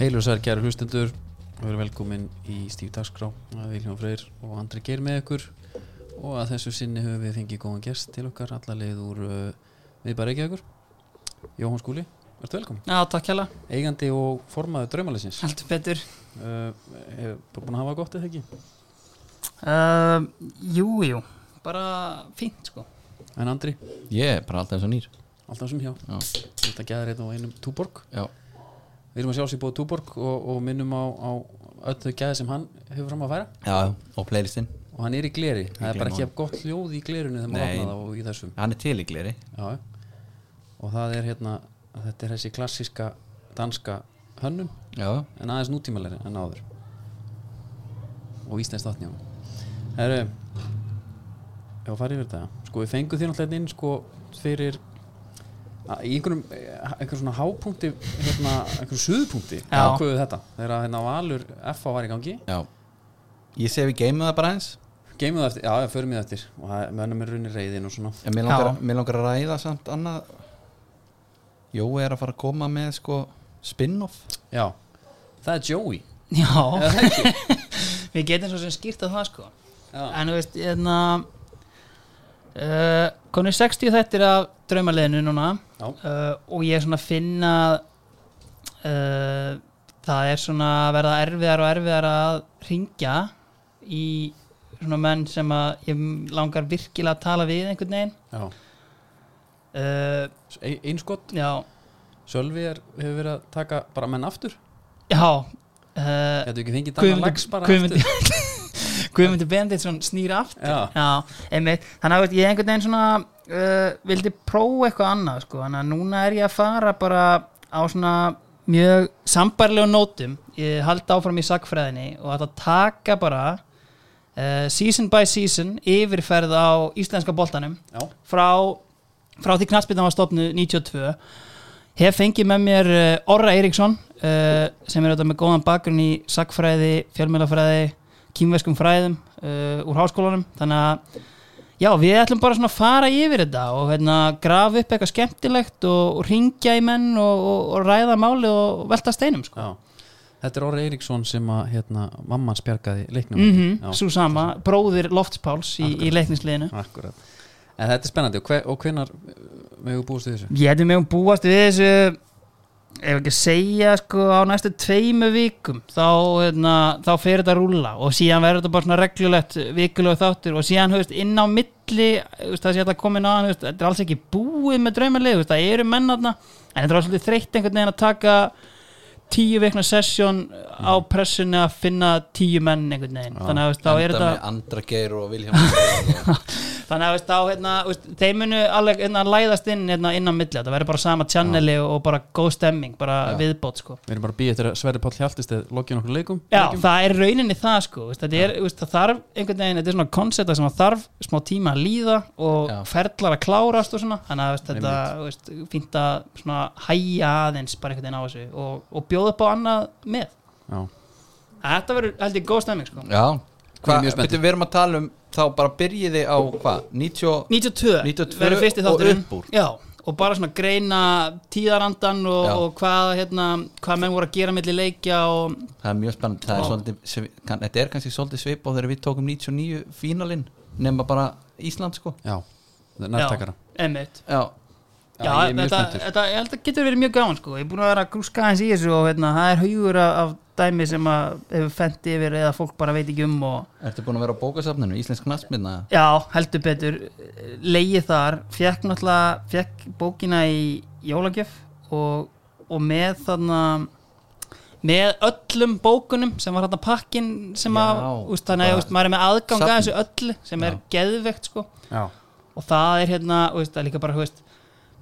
Heil og sær kæru hlustendur Við erum velkomin í Stíf Dagskrá að Viljón Freyr og Andri Geir með ykkur og að þessu sinni höfum við fengið góðan gest til okkar alla leið úr uh, við bara ekki ykkur Jóhann Skúli, ertu velkomin Já, takk hella, Eigandi og formaður Uh, draumalessins uh, heldur betur Hefur búin að hafa gott eða ekki uh, Jú, jú, bara fínt sko En Andri, Ég er bara alltaf eins og nýr alltaf sem hjá Já, Þetta gæðir einn og hérna einum túborg já, Við erum að sjá sér búið túborg og, og minnum á, á öll þau gæði sem hann hefur fram að færa já og playlistinn og hann er í gleri, það er bara gleyma ekki af gott hljóð í glerinu þegar maður Nei. opnaði og í þessum Hann er til í gleri Já, og það er hérna þetta er þessi klassíska danska hönnun Já, en aðeins nútímalegri en áður og íslensk þáttnjá Herru Já, farið yfir þetta Sko, við fengum þér náttúrulega inn sko fyrir að- í einhverjum, eh, einhverjum svona hápunkti hérna, einhverjum suðpunkti Já. ákveðu þetta, þegar að hérna Valur FA var í gangi já Ég sé við geymum það bara eins geymum það eftir, já, já, förum við það eftir og það mönnum er runni reyðin og svona En Já. mér langar, mér langar að ræða samt annað Jói er að fara að koma með sko spin-off Já, það er Joey Já, eða það ekki? við getum svo sem skýrt að það sko Já. En þú veist, hérna uh, Konur 60 þettir af draumaliðinu núna Já. uh, Og ég er svona að finna uh, Það er svona að verða erfiðar og erfiðar að ringja Í svona menn sem að ég langar virkilega að tala við einhvern veginn Já, uh, Ein- einskott Já, Sölvi er, hefur verið að taka bara menn aftur já uh, Gætu ekki fengið Danna Lags bara Guðmundur- aftur Guðmundur Benditsson snýra aftur Já, Já, einmitt, þannig að þú veist, ég einhvern veginn svona uh, vildi prófa eitthvað annað sko, þannig að núna er ég að fara bara á svona mjög sambarlegum nótum, ég haldi áfram í sakfræðinni og ætla að taka bara uh, season by season yfirferð á íslenska boltanum já, frá, frá því knallspilna var stopnu 92 hef fengið með mér eh, Orra Eiríksson uh, sem er auðvitað með góðan bakgrunn í sakfræði, fjölmjölafræði kýmveskum fræðum uh, úr háskólanum þannig að já, við ætlum bara svona að fara yfir þetta og hérna, grafa upp eitthvað skemmtilegt og, og ringja í menn og, og, og ræða máli og velta steinum sko. já Þetta er Orri Eiríksson sem að hérna, mamman spjarkaði leiknum mm Já, svo sama, bróðir Lofts-Páls í, í leiknisliðinu akkurat En þetta er spennandi og, hve, og hvenar meðu búist við þessu? Ég hefði með um búast við þessu ef ekki að segja sko á næstu tveimu vikum þá, hérna, þá fer þetta að rúlla og síðan verður þetta bara svona reglulegt vikulega þáttur og síðan höfst inn á milli þú veist, það sé alltaf komin á hann þetta er alls ekki búið með draumalið það eru mennarna en þetta er alls þreytt einhvern veginn að taka tíu vikna sessjón á pressunni að finna tíu menn einhvern veginn þannig að þú veist, þá er Enda þetta með Andra Geir og Vilhjálm Freyr og- þannig að veist, þá, hérna, veist, þeir munu alveg hérna, læðast inn hérna, inn á milli það verður bara sama channeli og bara góð stemming bara viðbót sko Við erum bara að býja eftir að Sverri Páll Hjaltist eða lokið nokkur leikum Já, það er rauninni það sko veist, það, er, veist, það þarf einhvern veginn, þetta er svona koncepta sem að þarf smá tíma að líða og Já. ferlar að klárast og svona þannig að veist, þetta veist, fínt að svona hæja aðeins bara einhvern veginn á þessu og, og bjóða upp á annað með Já, Þetta verður held ég góð stemming sko Já, Ég er hvað, mjög spenntur. betur við erum að tala um þá bara byrjiði á hvað, 90 92, 92 verður fyrsti og þátturinn upp úr. Já, og bara svona greina tíðarandan og, Já. og hvað, hérna, hvað menn voru að gera milli leikja og Það er mjög spennandi, það er svolítið, svi- kann, þetta er kannski svolítið svip og þegar við tókum 99 fínalinn nema bara Ísland sko já, það er nærtakara Já, einmitt Já, Já, Já, ég er mjög þetta, spenntur. þetta, ég held að getur verið mjög gaman sko Ég er búin að vera að grúska hans í þessu og hérna, það er haugur af, af dæmi sem að hefur fendt yfir eða fólk bara veit ekki um og Ertu búin að vera á bókasafninu, Íslensk knastmynda? Já, heldur betur Leigið þar, fekk náttúrulega fekk bókina í jólagjöf og, og með þarna með öllum bókunum sem var þarna pakkin sem að, Já, úst, þannig að bara úst, maður er með aðgang að safn. þessu öllu sem er geðvegt sko Já, og það er hérna, þú veist, það er líka bara, þú veist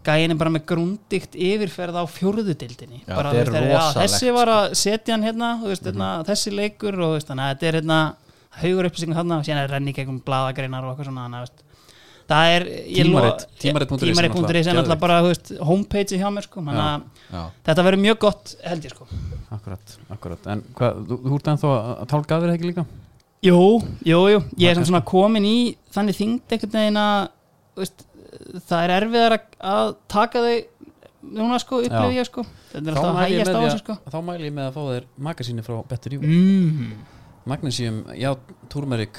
gæin er bara með grúndíkt yfirferð á fjórðudildinni Já, bara, þetta er þú veist, já, rosalegt, sko. þessi var að setja hann hérna, þú veist, hérna Mhm. þessi leikur og þú veist, þannig að þetta er hérna haugur upplýsingum hérna og síðan er renni í gegnum bladagreinar og eitthvað svona þannig að þú veist, það er ég lo- Tímarit, tímarit punktur is er tímarit.is er náttúrulega náttúrulega bara þú veist, homepage hjá mér sko, þannig Já. að Já, þetta verður mjög gott held ég sko akkurat, akkurat En hvað, þú, þú ert ennþá að að tálka að þér ekki líka? Jú, jú, jú, ég Það er samt svona komin í þannig þyngd einhvern veginn að þú veist, það er erfiðar að- að taka þau núna sko, upplif ég sko þetta er alltaf að mæli ég hægjast á með því að- þessu sko þá mæli ég með að fá þér magasíni frá Better You Mhm. mm. Magnesium, já, turmeric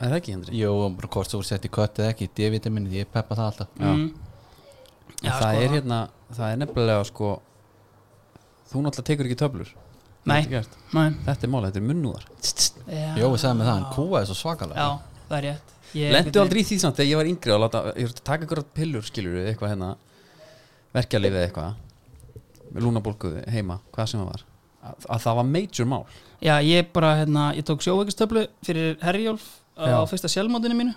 Er það ekki, Hendri? Jó, og bara hvort þú voru sett í kött eða ekki D-vitamin, ég peppa það alltaf Já. Mm. Já, það sko, er hérna, það er nefnilega sko Þú náttúrulega tekur ekki töflur Nei. Þetta er gert. nei. Þetta er mál, þetta er munnúðar Já. Jói sagði með það, hann kúaði svo svakalega já, það er rétt Ég- Lendu aldrei í því samt þegar ég var yngri að láta, ég var að taka einhverja pillur skilur við eitthvað hérna verkjalið eða eitthvað með lúnabólkuðu heima, hvað sem það var að, að það var major mál já, ég bara, hérna, ég tók sjóveikistöflu fyrir Herjólf á Já. fyrsta sjálfmótinu mínu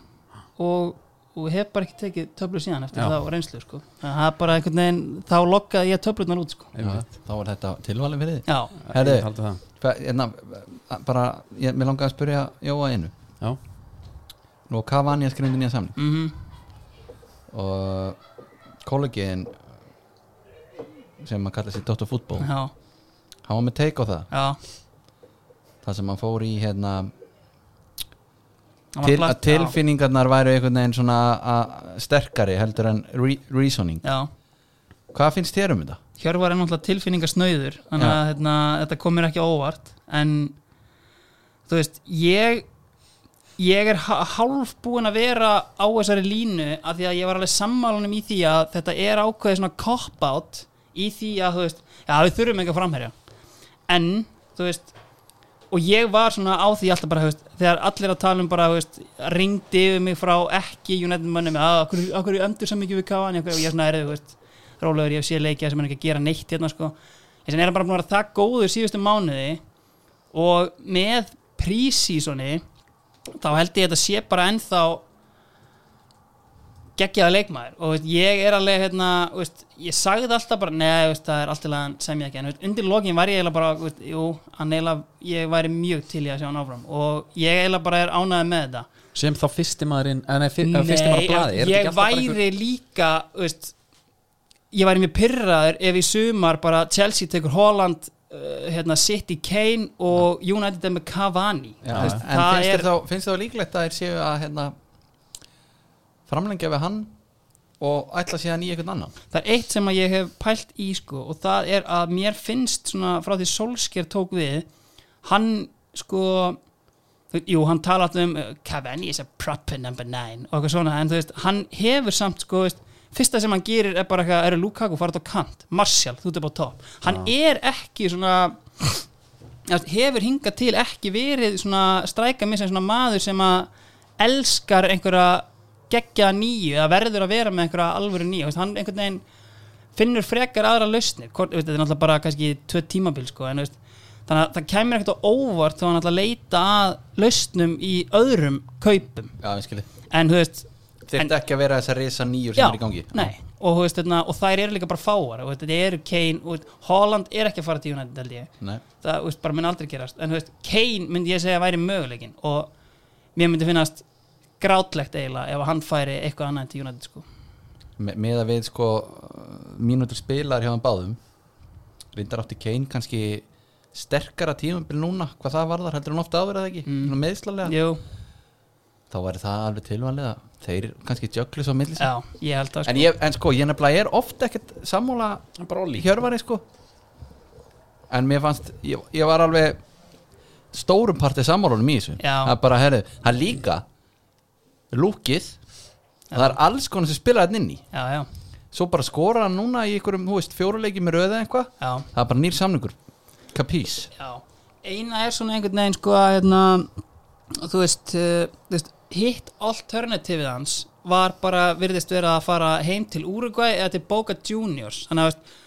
og, og hef bara ekki tekið töflu síðan eftir Já. þá reynslu sko það er bara einhvern veginn, þá lokkaði ég töflunar út sko Já, Þá var þetta tilvalin fyrir þig já, Herðu. Ég taldi það. Hva- hérna, bara, ég, mér langaði að spyrja Jóa einu Já, Nú, hvað vann ég að skrifa nýja samning mhm og kollegiðin sem að kalla sér Dr. Fútból hann já, var með teik á það já það sem hann fór í hérna Hann var til, plat- að tilfinningarnar væru einhvern veginn svona a, sterkari heldur en re reasoning já, já. hvað finnst þér um þetta? Hjörvar er náttúrulega tilfinningasnauður þannig Já. að hérna, þetta komir ekki á óvart en þú veist, ég ég er ha- hálf búin að vera á þessari línu af því að ég var alveg sammálunum í því að þetta er ákveðið svona cop-out í því að þú veist, já við þurfum ekki að framherja en, þú veist og ég var svona á því alltaf bara þú veist, þegar allir að tala um bara þú veist, ringdi yfir mig frá ekki United mönnum að okkur, okkur endur sem ekki við káan og ég svona er þú veist rólegur ég sé leikja sem er ekki að gera neitt hérna sko en sem er hann bara búin að vera það góður síðustu mánuði og með prísísoni þá held ég að þetta sé bara ennþá geggjaða leikmaður og veist, ég er alveg hérna, veist, ég sagði það alltaf bara neða, veist, það er alltaf að hann sem ég ekki en veist, undir lokin var ég eiginlega bara veist, jú, hann eiginlega, ég væri mjög til í að sjá hann áfram og ég eiginlega bara er ánæði með þetta sem þá fyrsti maðurinn eh, Nei, fyr, nei fyrsti maður á blaði er þetta ég ekki alltaf bara væri einhver- líka veist, ég væri mjög pyrraður ef í sumar bara Chelsea tekur Holland uh, hérna, City Kane og United er með Cavani Já, Þú veist, en það finnst er þér þá, finnst þér þá líklegt að þér séu að hérna, framlengja við hann og ætla síðan í einhvern annan það er eitt sem að ég hef pælt í sko og það er að mér finnst svona frá því Solskjær tók við hann sko þú- jú, hann tala alltaf um uh, Cavani is a proper number nine og eitthvað svona en þú veist, hann hefur samt sko veist, fyrsta sem hann gerir er bara eitthvað eru Lukaku farið á kant, Martial, þú ert upp á topp hann er ekki svona þú veist, hefur hingað til ekki verið svona stræka mér sem svona maður sem að elskar einhverja geggja nýju, það verður að vera með einhverja alvöru nýju, þú veist, hann einhvern veginn finnur frekar aðra lausnir Hvort- þú veist, þetta er náttúrulega bara kannski tvö tímabil sko, en, þú veist, þannig að það kemur ekkert á óvart þá hann ætla að leita að lausnum í öðrum kaupum Já, ég skilji en þú veist En- Þeir ekki að vera þessar risa nýjur sem er í gangi nei, og, þú veist, þarna, og þær eru líka bara fáar og, þú veist, þetta eru Kane, og, þú veist, Holland er ekki að fara til United held ég Nei. það þú veist, bara mun aldrei gerast en þú veist, Kane myndi ég segja að væri möguleikin og mér myndi finnast grátlegt eiginlega ef hann færi eitthvað annað en til United sko. Me, með að við sko mínútur spilar hjá hann báðum reyndar átti Kane kannski sterkara tímumbil núna hvað það varðar heldur hann ofta áður eða ekki mm. meðslalega, Jú, þá væri það alveg tilvanlega þeir kannski jöklu svo millis já, ég held það en, sko. ég, en sko, ég nefnilega er ofta ekkert sammála Hann bara Olli. hjörvari sko en mér fannst, ég, ég var alveg stórum partið sammálunum í þessu Já. það er bara, herri, það er líka lúkið það er alls konar sem spila þetta inn í já, já, svo bara skora hann núna í einhverjum, þú veist, fjóruleiki með röða eitthvað já það er bara nýr samningur, kapís Já, eina er svona einhvern veginn sko að hérna, þú veist, uh, þú veist hitt alternativið hans var bara virðist vera að fara heim til Uruguay eða til Boca Juniors þannig að þú veist,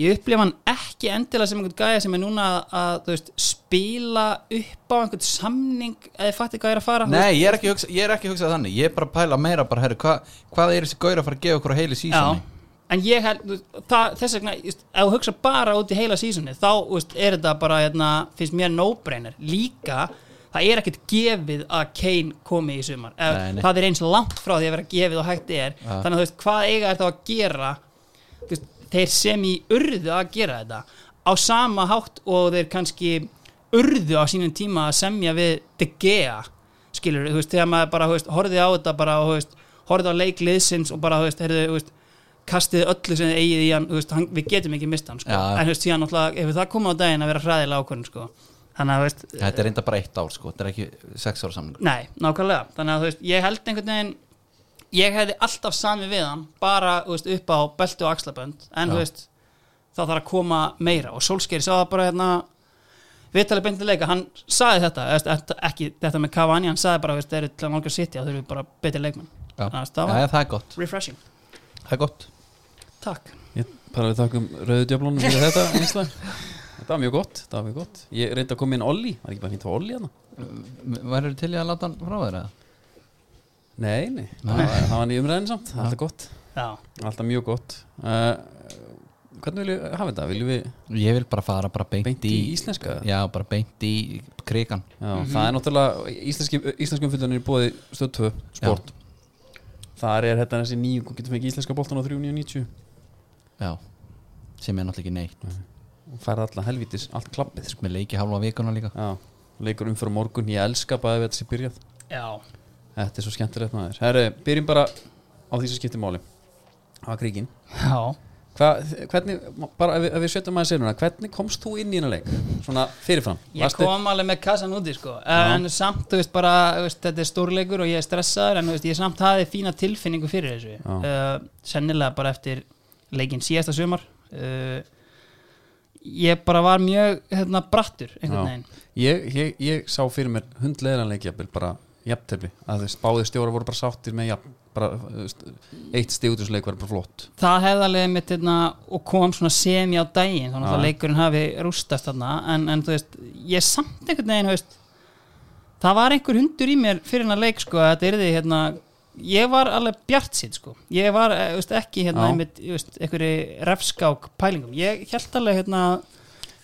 ég upplifa hann ekki endilega sem einhvern gæja sem er núna að þú veist, spila upp á einhvern samning eða fatti hvað ég er að fara þú Nei, ég er ekki að hugsa, ég er ekki að hugsa þannig ég er bara að pæla meira bara, herri, hva, hvað er þessi gaur að fara að gefa okkur á heili sísoni en ég held, þú veist, það, þess vegna just, ef þú hugsa bara út í heila sísunni þá þú veist, er þetta bara, hérna, finnst mér no-brainer líka, það er ekkert gefið að Kane komi í sumar Ef, Nei, nei. það er eins langt frá því að vera gefið og hægt er, Ja. þannig að þú veist, hvað eiga er þá að gera þú veist, þeir sem í urðu að gera þetta á sama hátt og þeir kannski urðu á sínum tíma að semja við De Gea skilur, þú veist, þegar maður bara þú veist, horfið á þetta bara, og, þú veist, horfið á leik liðsins og bara, þú veist, heyrðu, þú veist kastið öllu sem þið eigið í hann, þú veist, hann við getum ekki mist hann sko. Já. en þú veist, síðan náttúrulega, ef það komið á daginn að vera hræðilega ákvörðin sko. þannig að, þú veist, Þetta er reynda bara eitt ár sko, þetta er ekki sex ára samlingur Nei, nákvæmlega Þannig að þú veist, ég held einhvern veginn Ég hefði alltaf sami við hann Bara þú veist, upp á belti og axlabönd En Já. þú veist, þá þarf að koma meira Og Solskeri sá það bara hérna Vitali beintileika, hann saði þetta þú veist, þetta- ekki þetta með Cavani, hann saði bara þú veist, þeir eru til að nálga sitja, þau eru bara betri leikmenn Já, Þannig að það Já, var já, það er gott, refreshing, það er gott takk Ég bara við þakkum rauðu djöflunum fyrir þetta einslag Þetta var mjög gott, þetta var mjög gott Ég reyndi að koma inn Olli, var ekki bara fínt að Olli hérna Verður Eh, til í að láta hann frá þér eða? Nei, nei, það var- það var nýjum reyðin samt Alltaf gott, Já, alltaf mjög gott uh, Hvernig viljum við hafa þetta? Viljum við Ég vil bara fara bara beint, beint í íslenska? Já, bara beint í krigan Já, það er náttúrulega íslenski, íslenskum fylgjarnir bóði stöð 2 sport Þar er þetta þessi nýjum, getum við ekki íslenska boltan á 3990 Já, sem er náttúrulega ekki neitt og færði alltaf helvítis, allt klappið sko. Með leiki halva vikuna líka Já, leikur um fyrir morgun, ég elska bara þetta sé byrjað já, Þetta er svo skemmtilegt maður Herru, byrjum bara á því sem skiptir máli Það var kríkin já Hva, Hvernig, bara ef við, ef við setjum aðeins einuna Hvernig komst þú inn í hennar leik? Svona fyrirfram Ég kom alveg með kassan úti sko En samt, þú veist, bara, þú veist, þetta er stórleikur og ég er stressaður En þú veist, ég samt hafði fína tilfinningu fyrir þessu uh, Sennilega bara eftir leikinn síðasta sumar uh, Ég bara var mjög, hérna, brattur Já. Einhvern veginn ég, ég, ég sá fyrir mér hundleðan leik jafnvel bara jafntefli að þess báði stjóra voru bara sáttir með jafn bara, þú veist, eitt stíðutusleik var bara flott Það hefði alveg mitt, hérna, og kom svona semi á daginn Þannig Já. að leikurinn hafi rústast þarna en, en þú veist, ég samt einhvern veginn, þú veist Það var einhver hundur í mér fyrir hennar leik sko að þetta yrði hérna ég var alveg bjart sitt sko ég var eh, þú veist, ekki hérna Já. einmitt, þú veist, einhverju refskák pælingum ég held alveg hérna að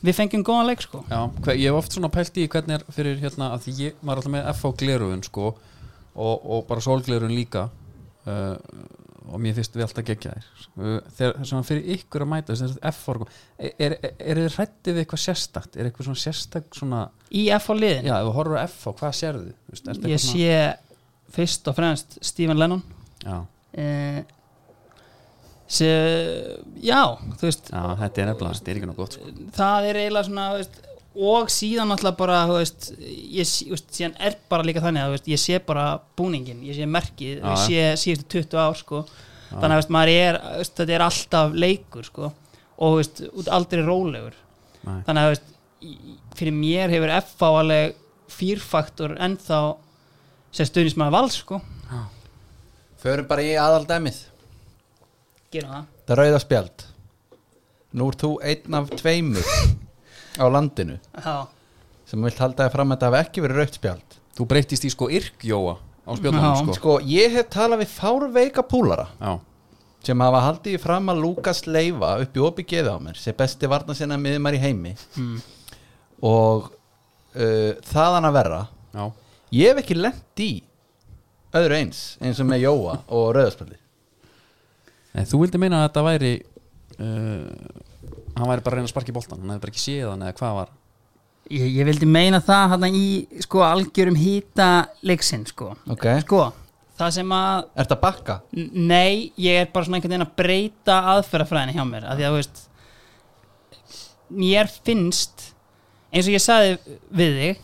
við fengjum góðan leik sko Já, hve, ég hef oft svona pælt í hvernig er fyrir hérna að því ég var alltaf með FH gleruðun sko og, og bara sólgleruðun líka uh, og mér finnst við alltaf gegja þér uh, þegar svona fyrir ykkur að mæta þess að FH sko, er, er, er þið hrættið við eitthvað sérstakt er eitthvað svona sérstakt svona í F á liðin já, ef þú horfur á FH, hvað sérðu? Vist, ég sé fyrst og fremst Stephen Lennon já, eh, se, já, þú veist já, þetta er nefnilega þetta er ekki nú gott sko. það er eiginlega svona þú veist, og síðan alltaf bara þú veist, ég, sé- þú veist, síðan er bara líka þannig að þú veist, ég sé bara búningin, ég sé merkið Já, ég sé síðustu 20 ár sko. þannig að þú veist, maður er, þú veist, þetta er alltaf leikur sko. og þú veist, út aldrei rólegur Nei. þannig að þú veist, í- fyrir mér hefur FH alveg fýrfaktor ennþá sem stuðnist maður vals sko. Förum bara í aðaldæmið gerum það Það er rauða spjald Nú ert þú einn af tveimur á landinu Já. sem vilt halda þér fram að þetta hafi ekki verið rautt spjald þú breytist í sko yrkjóa á spjóðunum sko. Sko, ég hef talað við fárveika púlara já, sem hafa haldið í fram að Lukas Leifa upp í opi geði á mér sem besti varna sinna miðumar í heimi Hmm. Mm. og uh, þaðan að verra já, ég hef ekki lent í öðru eins eins og með Jóa og Rauðarspjaldi Nei, þú vildi meina að þetta væri uh, hann væri bara að reyna að sparka í boltan hann hefði bara ekki séð hann eða hvað var Ég, ég vildi meina það hann í sko, algjörum hýta leiksinn sko. ok, sko, það sem að ert að bakka? n- nei, ég er bara svona einhvern veginn að breyta aðferðafræðinni hjá mér, af því að þú veist mér finnst eins og ég saði við þig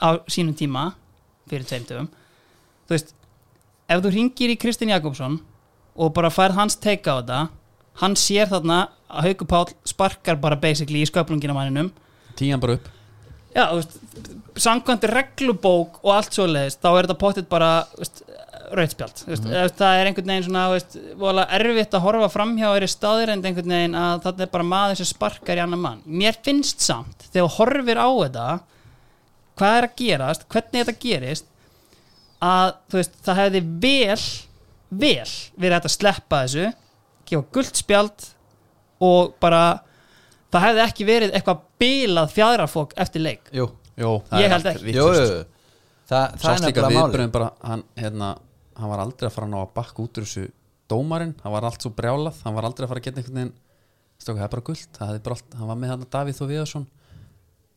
á sínum tíma fyrir tveimtöfum þú veist, ef þú ringir í Kristinn Jakobsson og bara færð hans teika á þetta hann sér þarna að Hauku Páll sparkar bara basically í sköplungina manninum tíðan bara upp Já, þú veist, samkvæmt reglubók og allt svoleiðis, þá er þetta pottit bara þú veist, rauðspjald mm -hmm. það er einhvern veginn svona þú veist, vola erfitt að horfa framhjá er í staðirend einhvern veginn að þetta er bara maður sem sparkar í annan mann mér finnst samt, þegar þú horfir á þetta hvað er að gerast hvernig þetta gerist að þú veist, það hefði vel vel verið hægt að sleppa þessu gefa gult spjald og bara það hefði ekki verið eitthvað bilað fjadrafók eftir leik jú, Jó, Ég held ekki. jú, jú. Þa, það er Sást líka nefnilega máli viðbröðum bara hann, hérna, hann var aldrei að fara að ná að bakka út úr þessu dómarinn, hann var allt svo brjálað hann var aldrei að fara að geta einhvern veginn stók, það er bara gult, það hefði bara allt hann var með hann Davíð og Viðarsson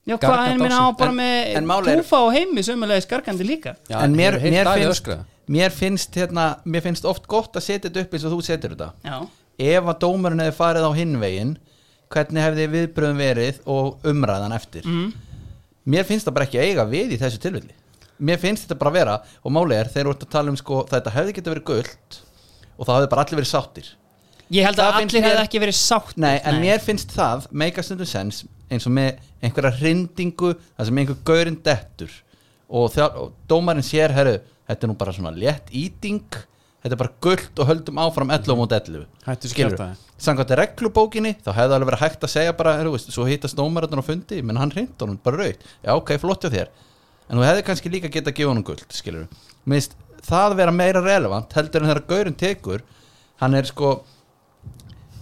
Já, Gargant hvað er á minna sig. á bara En- með en mál er- Túfa og heimi sömulegis gargandi líka Já, en mér, hefur heyrt mér, Davíð finnst, öskra? mér finnst hérna, mér finnst oft gott að setja þetta upp eins og þú setur þetta Já, ef að dómurinn hefði farið á hinn veginn hvernig hefði viðbröðum verið og umræðan eftir mm. mér finnst það bara ekki að eiga við í þessu tilvilli mér finnst þetta bara að vera og máli er þegar þú ert að tala um sko þetta hefði geta verið gullt og það hefði bara allir verið sáttir Ég held Það að finnst allir mér- hefði ekki verið sátt Nei, en mér finnst það meika stundum sens eins og með einhverja hrindingu það sem einhver gaurinn dettur og, þjá, og dómarinn sér, herru þetta er nú bara svona létt íting þetta er bara gullt og höldum áfram 11 mot 11 Hættu þessu kjaftaði. samkvæmt reglubókinni, þá hefði alveg verið hægt að segja bara, herru, veist, svo hittast dómarinn á fundi menn hann hrind honum, bara raukt já, ok, flott hjá þér, en þú hefði kannski líka geta að gefa honum gullt, skilur Mist, það vera meira relevant, heldur en þegar gaurinn tekur, hann er sko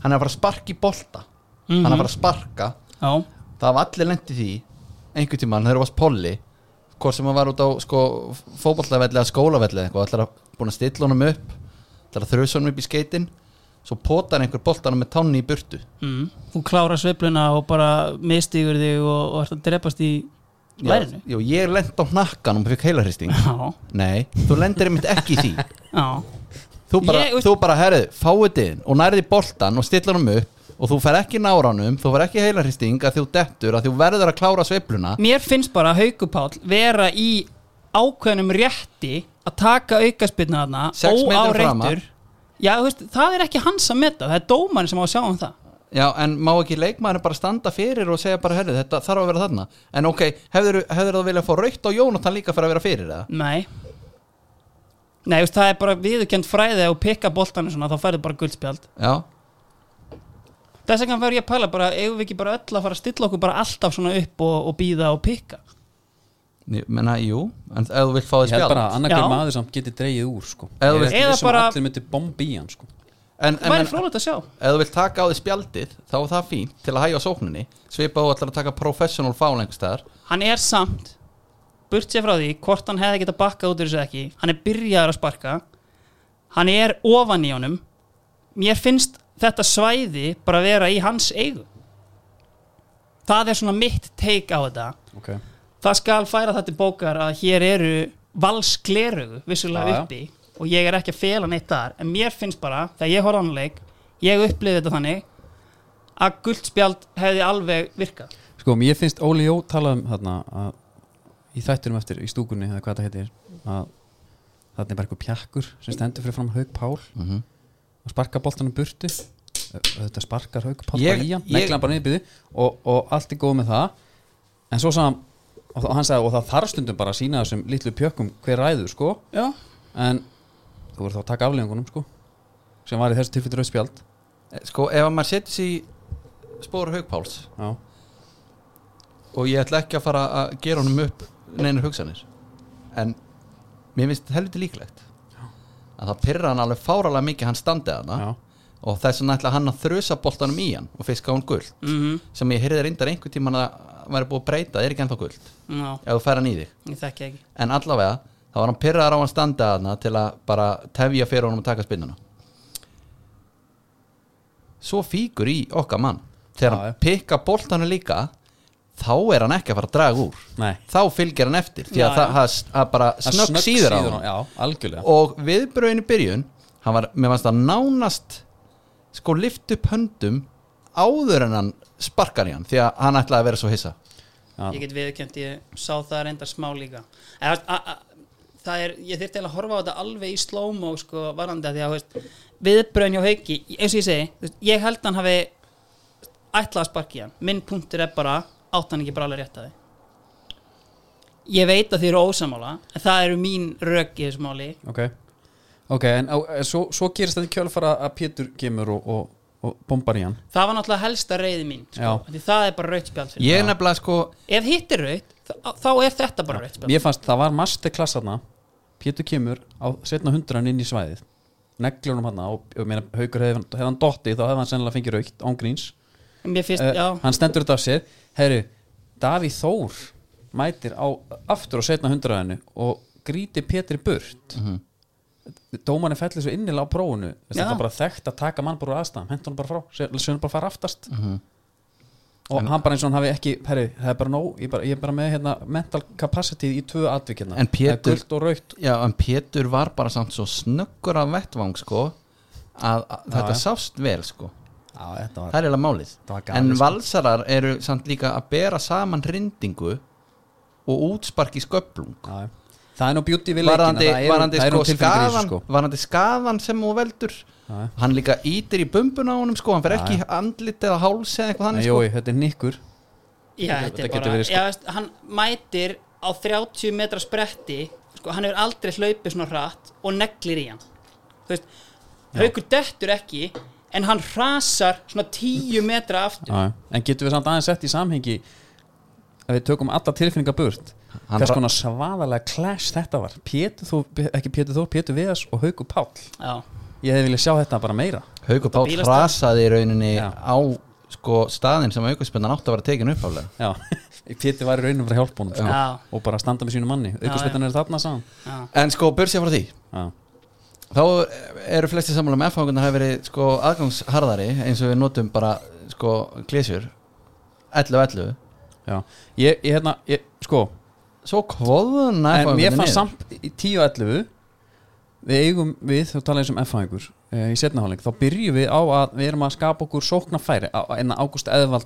hann er að fara að sparka í bolta hann er að fara að sparka Já, það hafa allir lent í því einhvern tímann þegar þú varst polli hvort sem hann var út á sko, fótballavelli eða skólavelli eða eitthvað, ætlar að búin að stilla honum upp ætlar að þrjusa honum upp í skeitin svo potar einhver boltanum með tánni í burtu mm. þú klárar sveifluna og bara mistigur þig og, og ert að drepast í lærinu já, ég lent á hnakkan og fikk heilarhristing Já, nei, þú lendir einmitt ekki í því já þú bara, Ég- þú bara herðu, fáið inn og nærði boltan og stillar honum upp og þú fer ekki náranum, þú fer ekki heilarhristing að þú dettur, að þú verður að klára sveifluna Mér finnst bara Haukupáll vera í ákveðnum rétti að taka aukaspirna þarna Sex metrum óáreittur. Já, þú veist, það er ekki hans að meta, það er dómarinn sem á að sjá um það Já, en má ekki leikmaðurinn bara standa fyrir og segja bara, herru, þetta þarf að vera þarna En ok, hefur það viljað fá raukt á Jónatan líka fyrir að vera fyrir það? Nei Nei, þú veist, það er bara viðurkend fræði og pikka boltanum svona, þá færðu bara guldspjald Já, Þess vegna verður ég að pæla bara, eigum við ekki bara öll að fara að stilla okkur bara alltaf svona upp og, og býða og pikka ég menna, jú, en ef þú vilt fá þið Ég held spjald bara að annarkar Já. maður samt geti dreigið úr sko. Eða Ég er þú veist- ekki Eða viss um að bara- allir myndi bombi í hann sko. En, Það en, væri en frólægt að sjá ef þú vilt taka á þið spjaldið, þá er það fínt til að hægja á sókninni Svipað þú ætlar að taka professional fál einhvers staðar Hann er samt, burt sér frá því hvort hann hefði getað bakkað út úr þessu eða ekki Hann er byrjaður að sparka Hann er ofan í honum Mér finnst þetta svæði bara vera í hans eigu Það er svona mitt take á þetta okay. Það skal færa það til bókar að hér eru valsklerugu vissulega Já, já. uppi og ég er ekki að fela neitt þar en mér finnst bara, þegar ég horf ánleik ég upplifði þetta þannig að guldspjald hefði alveg virkað Sko, mér finnst Óli Jó tala um þarna að í þættunum eftir í stúkunni eða hvað það heitir að þarna er bara eitthvað pjakkur sem stendur fyrir fram Haug Pál mm -hmm. og sparkar boltanum burtu Ö- þetta sparkar Haug Pál Ég- bara í hann ég- negla hann bara niðbyrði og, og allt er góð með það en svo sagði hann og þá- hann sagði og það þarf stundum bara að sína þessum litlu pjökkum hver ræður sko Já, en þú voru þá að taka afleðingunum sko sem var í þessu tilfellu rauðspjald Sko, ef að maður setjur sér í spóra haugpáls já, og ég ætla ekki að fara að gera honum upp neina hugsanir en mér finnst helviti líklegt að það pyrra hann alveg fáralega mikið hann standið hana já, og þess vegna ætla hann að þrjusa boltanum í hann og fiska hún guld mm sem ég heyrði reyndar einhvern tímann að væri búið að breyta, það er ekki ennþá guld já ef þú fær hann í þig, ég þekki ekki en allavega þá var hann pyrraðar á hann standið hana til að bara tefja fyrir honum að taka spinnuna svo fíkur í okkar mann þegar Já, já. hann pikka boltanum líka þá er hann ekki að fara að draga úr nei þá fylgir hann eftir því að Já, það, það, það bara snögg síður á hann já, algjörlega og viðbröðin í byrjun hann var, mér fannst það nánast sko lift upp höndum áður en hann sparkar í hann því að hann ætlaði að vera svo hissa Ég já, get viðurkend, ég sá það reyndar smá líka en, það- a, a, Það er, ég þyrfti eiginlega að horfa á þetta alveg í slow-mo sko, varandi að því að þú veist, viðbröðin hjá hauki, eins og ég segi þú veist, ég held hann hafi ætlað að sparki hann, minn punktur er bara átt hann ekki bara alveg rétt að þið Ég veit að þið eru ósamála en það eru mín rök í þessu máli ok ok, en á, eh, svo, svo gerist þetta í kjölfara að Pétur kemur og, og, og bombar í hann Það var náttúrulega helsta reyði mín sko, Já. af því það er bara rautspjald fyrir ég nefnilega sko Ef hitt er raut, þá, þá er þetta bara rautspjald mér fannst það var masterclass hann Pétur kemur á setna hundran inn í svæðið neglur hann og, og meina, haukur hefði hef hann dottið þá hefði hann sennilega fengið raukt án gríns Mér finnst, Eh, já hann stendur þetta af sér herru, Davíð Þór mætir á aftur á setna hundraðinu og gríti Pétri burt mm Mhm. -hmm. dómanin fellir svo innilega á prófunu Já. þetta er bara þekkt að taka mann bara úr aðstæðan hendur hann bara frá, sem hann bara fara aftast Mhm. og hann bara eins og hann hafi ekki herru, það er bara nóg, ég, bara, ég er bara með hérna, mental capacity í tvö atvikina En Pétur- gult og raukt já, en Pétur var bara samt svo snöggur af vettvang sko að, að þetta já. sást vel sko Já, þetta það var er eiginlega málið Það var gaman, en sko. valsarar eru samt líka að bera saman hrindingu og útspark í sköplung já, já. Það er nú beauty við leikina varandi, Það eru- varandi, það eru sko, tilfinningar í þessu, skaðan, sko. varandi skaðan sem hún veldur Já, já. hann líka ítir í bumbun á honum sko, hann fer Já, ekki í andlit eða háls eða eitthvað Nei, þannig Jói, sko. þetta er nikkur Já, Þetta- þetta er þetta getur bara, verið, sko. já, veist, hann mætir á 30 metra spretti sko, hann hefur aldrei hlaupið svona hratt og neglir í hann þú veist, haukur dettur ekki en hann rasar svona 10 metra aftur Já, já. En getum við samt aðeins sett í samhengi að við tökum alla tilfinningar burt Hann hvers ra- konar svaðalega clash þetta var Pétur Þór, ekki Pétur Þór, Pétur Viðars og Haukur Páll Já, Ég hefði viljað sjá þetta bara meira Haukur Páll bílastæði. hrasaði í rauninni Já. á sko, staðin sem aukarspennan átti að vera tekin uppálega Já, Pétur var í raunum fyrir hjálpunum sko. Já. og bara standa með sínu manni Aukurspetan er þarna saman já, en sko, börsið frá því Já, þá eru flesti sammála með aðfangunar hafi verið sko, aðgangsharðari eins og við notum bara sko, glésjur 11-11 já Ég, ég hérna, ég, sko svo kvóðun En mér fannst samt í 10-11 Við eigum við, þá tala ég sem F-hæðingur eh, Í setnaháling, þá byrjum við á að Við erum að skapa okkur sóknarfæri á- En Ágúst Eðvald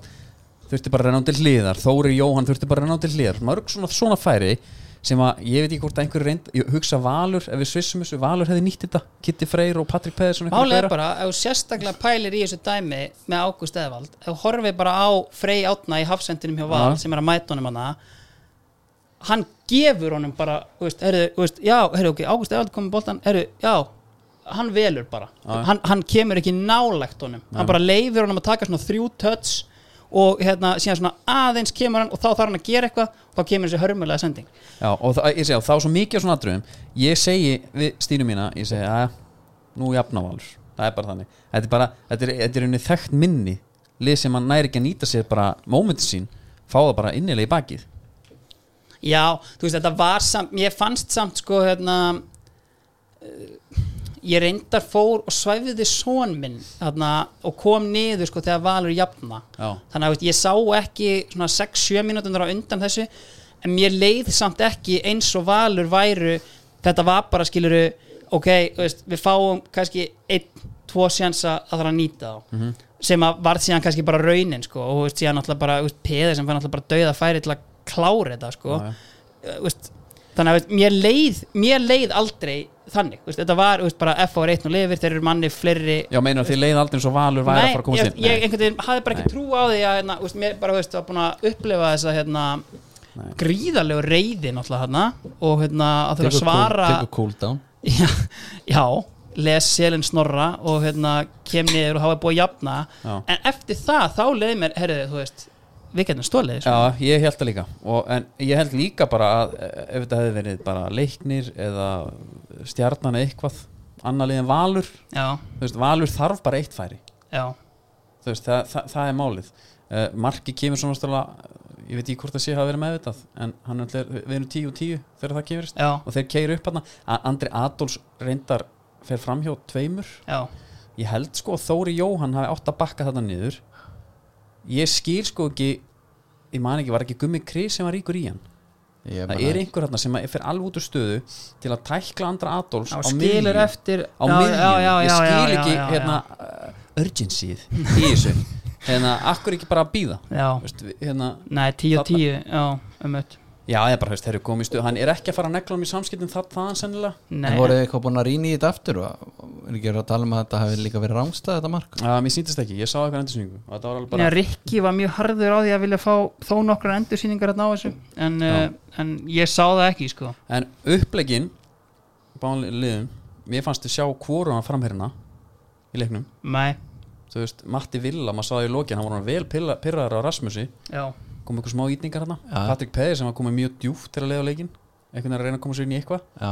þurfti bara að renna á til hliðar Þóri Jóhann þurfti bara að renna á til hliðar Mörg svona, svona færi sem að ég veit ekki hvort að einhverju reynd ég hugsa Valur, ef við svissum þessu, Valur hefði nýtt þetta Kitty Freyr og Patrik Pæðarsson Málið er bara, ef þú sérstaklega pælir í þessu dæmi með Ágúst Eðvald, ef þú horfið bara á Frey Átna í hafsendinum hjá Val Já. sem er að mæta honum hana hann gefur honum bara þú veist, heyrðu, þú veist, já, heyrðu, ok, Ágúst Eðvald komið boltan, heyrðu, já hann velur bara, Já. hann, hann kemur ekki nálægt honum, hann bara leifir honum að taka svona þrjú töts og hérna, síðan svona aðeins kemur hann og þá þarf hann að gera eitthvað og þá kemur þessi hörmulega sending Já, og það, ég segi, og þá er svo mikið af svona atriðum Ég segi við stínu mína Ég segi, að nú jafna valur Það er bara þannig Þetta er bara, þetta er, þetta er unni þekkt minni Lið sem hann næri ekki að nýta sér bara Mómentin sín, fá það bara innilega í bakið Já, þú veist, þetta var samt ég fannst samt, sko, hérna eh, ég reyndar fór og svæfiði són minn hérna, og kom niður, sko, þegar Valur jafna Já. þannig að þú veist, ég sá ekki svona 6-7 mínútur á undan þessu en mér leið samt ekki eins og Valur væru þetta var bara, skiluru, ok þú veist, við fáum kannski einn, tvo sjansa að það er að nýta þá Mhm. sem að varð síðan kannski bara raunin sko, og þú veist, síðan alltaf bara, þú veist, peði sem fann alltaf bara dauða færi til að klára þetta sko Já, já. uh, veist, þannig að veist, mér leið mér leið aldrei þannig veist, þetta var veist, bara F á reittn og lifir þeir eru manni fleiri Já, meinar þið leið aldrei eins og valur væri að Nei, fara að komast ég, inn ég Nei. einhvern veginn hafði bara ekki Nei. trú á því að hérna, veist, mér bara veist, var búin að upplifa þessa hérna, Nei. gríðalegu reyði náttúrulega hérna og hérna, að þurfa að svara tekur cool down já, já, les selin snorra og hérna, kem niður og hafa búið að jafna Já. en eftir það, þá leiði mér herriði, þú veist, við getum stólið sko. Já, ég held það líka og, En ég held líka bara að eh, ef þetta hefði verið bara leiknir eða stjarnan eða eitthvað annar liðin valur, já, þú veist, valur þarf bara eitt færi já, þú veist, það, það, það er málið uh, marki kemur svona stjálega ég veit ekki hvort það sé hafa verið meðvitað en hann er, við erum 10 og 10 þegar það kemurist já, og þeir keir upp hann Andri Adolfs reyndar fer fram hjá tveimur já. ég held sko að Þóri Jóhann hafi átt að bakka þetta niður ég skil sko ekki ég man ekki, var ekki Gummi Kris sem var ríkur í hann Ég það meina- er einhver hann sem að fer alveg út úr stöðu til að tækla Andra Adolfs á Já, skilur miðju- eftir- á já, miðjum, já, já, ég já, skil já, ekki já, já. hérna uh, urgencyð í þessu hérna, akkur ekki bara að býða Já. Veist, við- hérna, Nei, 10 og Þarna- 10, já, um öll já, ég bara, veist, þeir eru komið í stöðu hann er ekki að fara að negla um í samskiptum það, þaðan sennilega Nei, en voruð þið eitthvað búin að rýna í þetta aftur og er ekki verið að tala um að þetta hafi líka verið rángstað þetta mark Já, mér sýndist ekki, ég sá eitthvað endursynningu og þetta var alveg Nei, bara, Rikki var mjög harður á því að vilja fá þó nokkra endursýningar hérna á þessu en, uh, en ég sá það ekki, sko en upplegin bánliðum, mér fannst þið sjá kvoruna framherina í leiknum, Nei, þú veist, Matti Villa maður sá það í lokin, hann var hann vel pilla- pirraður á Rasmusi, já, kom eitthvað smá ítningar hann Já. Patrik Peði sem var komið mjög djúft til að leiða leikin, einhvern veginn að reyna að koma sér inn í eitthvað já,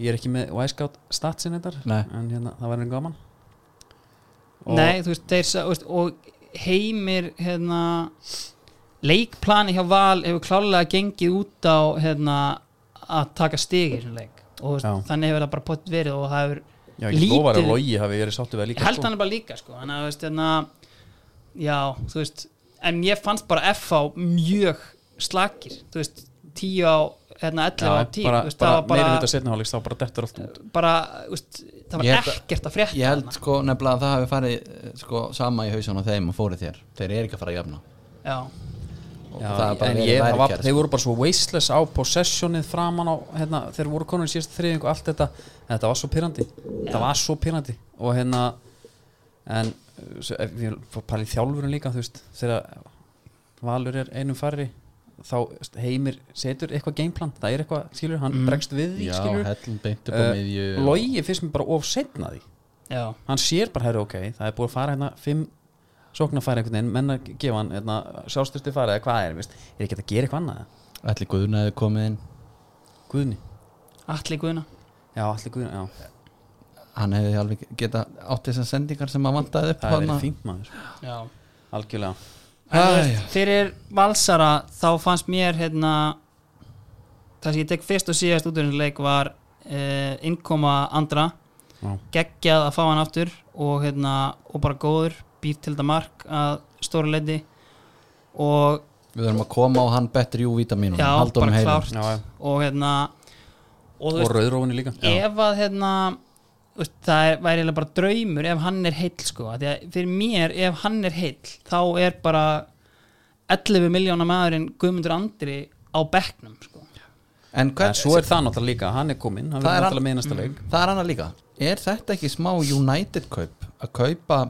ég er ekki með Wisecout statsin þetta Nei. en hérna, það var einn gaman Og- nei, þú veist, þeir sá, þú veist, og heimir, hérna leikplani hjá Val hefur klálega gengið út á hérna, að taka stig í þessum leik og þú veist, Já. þannig hefur það bara pott verið og það hefur Já, ég Lítið- lofar að logi hafi verið sáttu við það ég líka held hann er bara líka sko þannig að þú veist hérna já þú veist en ég fannst bara FH mjög slakir þú veist 10 á hérna 11 af 10 bara, þú veist, bara, það meiri var hluta bara, setni hálfleiks þá bara dettur allt út bara þú veist, það var Ég held að- ekkert að frétta Ég held þarna. sko nefnilega að það hafi farið eh, sko, sama í hausan á þeim og fórið þér Þeir eru ekki að fara að jafna já, Og Já, það er bara en verið ég, það var, værikært, þeir sko. voru bara svo wasteless á possessionið framan á hérna, þeir voru konur í síðast þriðingu allt þetta, þetta var svo pyrrandi þetta var svo pyrrandi og hérna en uh, svo, ef ég fór að pæla í þjálfurinn líka þú veist, þegar Valur er einum farri þá st- heimir setur eitthvað gameplan, það er eitthvað, skilur, hann bregst við því, Já, skilur hellum beint upp á miðju uh, Logi finnst mér bara of setna því já, hann sér bara, herru, ok, það er búið að fara hérna fimm sóknarfæri einhvern veginn menn að gefa hann hérna, sjálfstyrsti færi eða hvað er, veist, er ekki hægt að gera eitthvað annað Ætli Guðuna hefði komið inn Guðni, allir guðina já, allir Guðni, já Hann hefði alveg geta átt þessar sendingar sem hann vantaði upp það er þarna. verið fínt maður, já algjörlega En þú Æ, veist, fyrir valsara þá fannst mér hérna, það sem ég tek fyrst og síðast út úr þessum leik var uh, innkoma andra Já. geggjað að fá hann aftur og, hérna, og bara góður býr til þetta mark að stóra leiti og, Við verðum að koma á hann betri úvítamínum Já, bara klárt. já, já. og hérna og þú og veist, rauðrófunni líka ef að hérna þú veist, það er, væri eiginlega bara draumur ef hann er heill sko, af því að fyrir mér ef hann er heill, þá er bara 11 miljónar maðurinn Guðmundur Andri á bekknum sko. En en hvað, svo er það náttúrulega líka, hann er kominn hann Það verður er Mhm. náttúrulega með í næsta leik það er annað líka Er þetta ekki smá United kaup að kaupa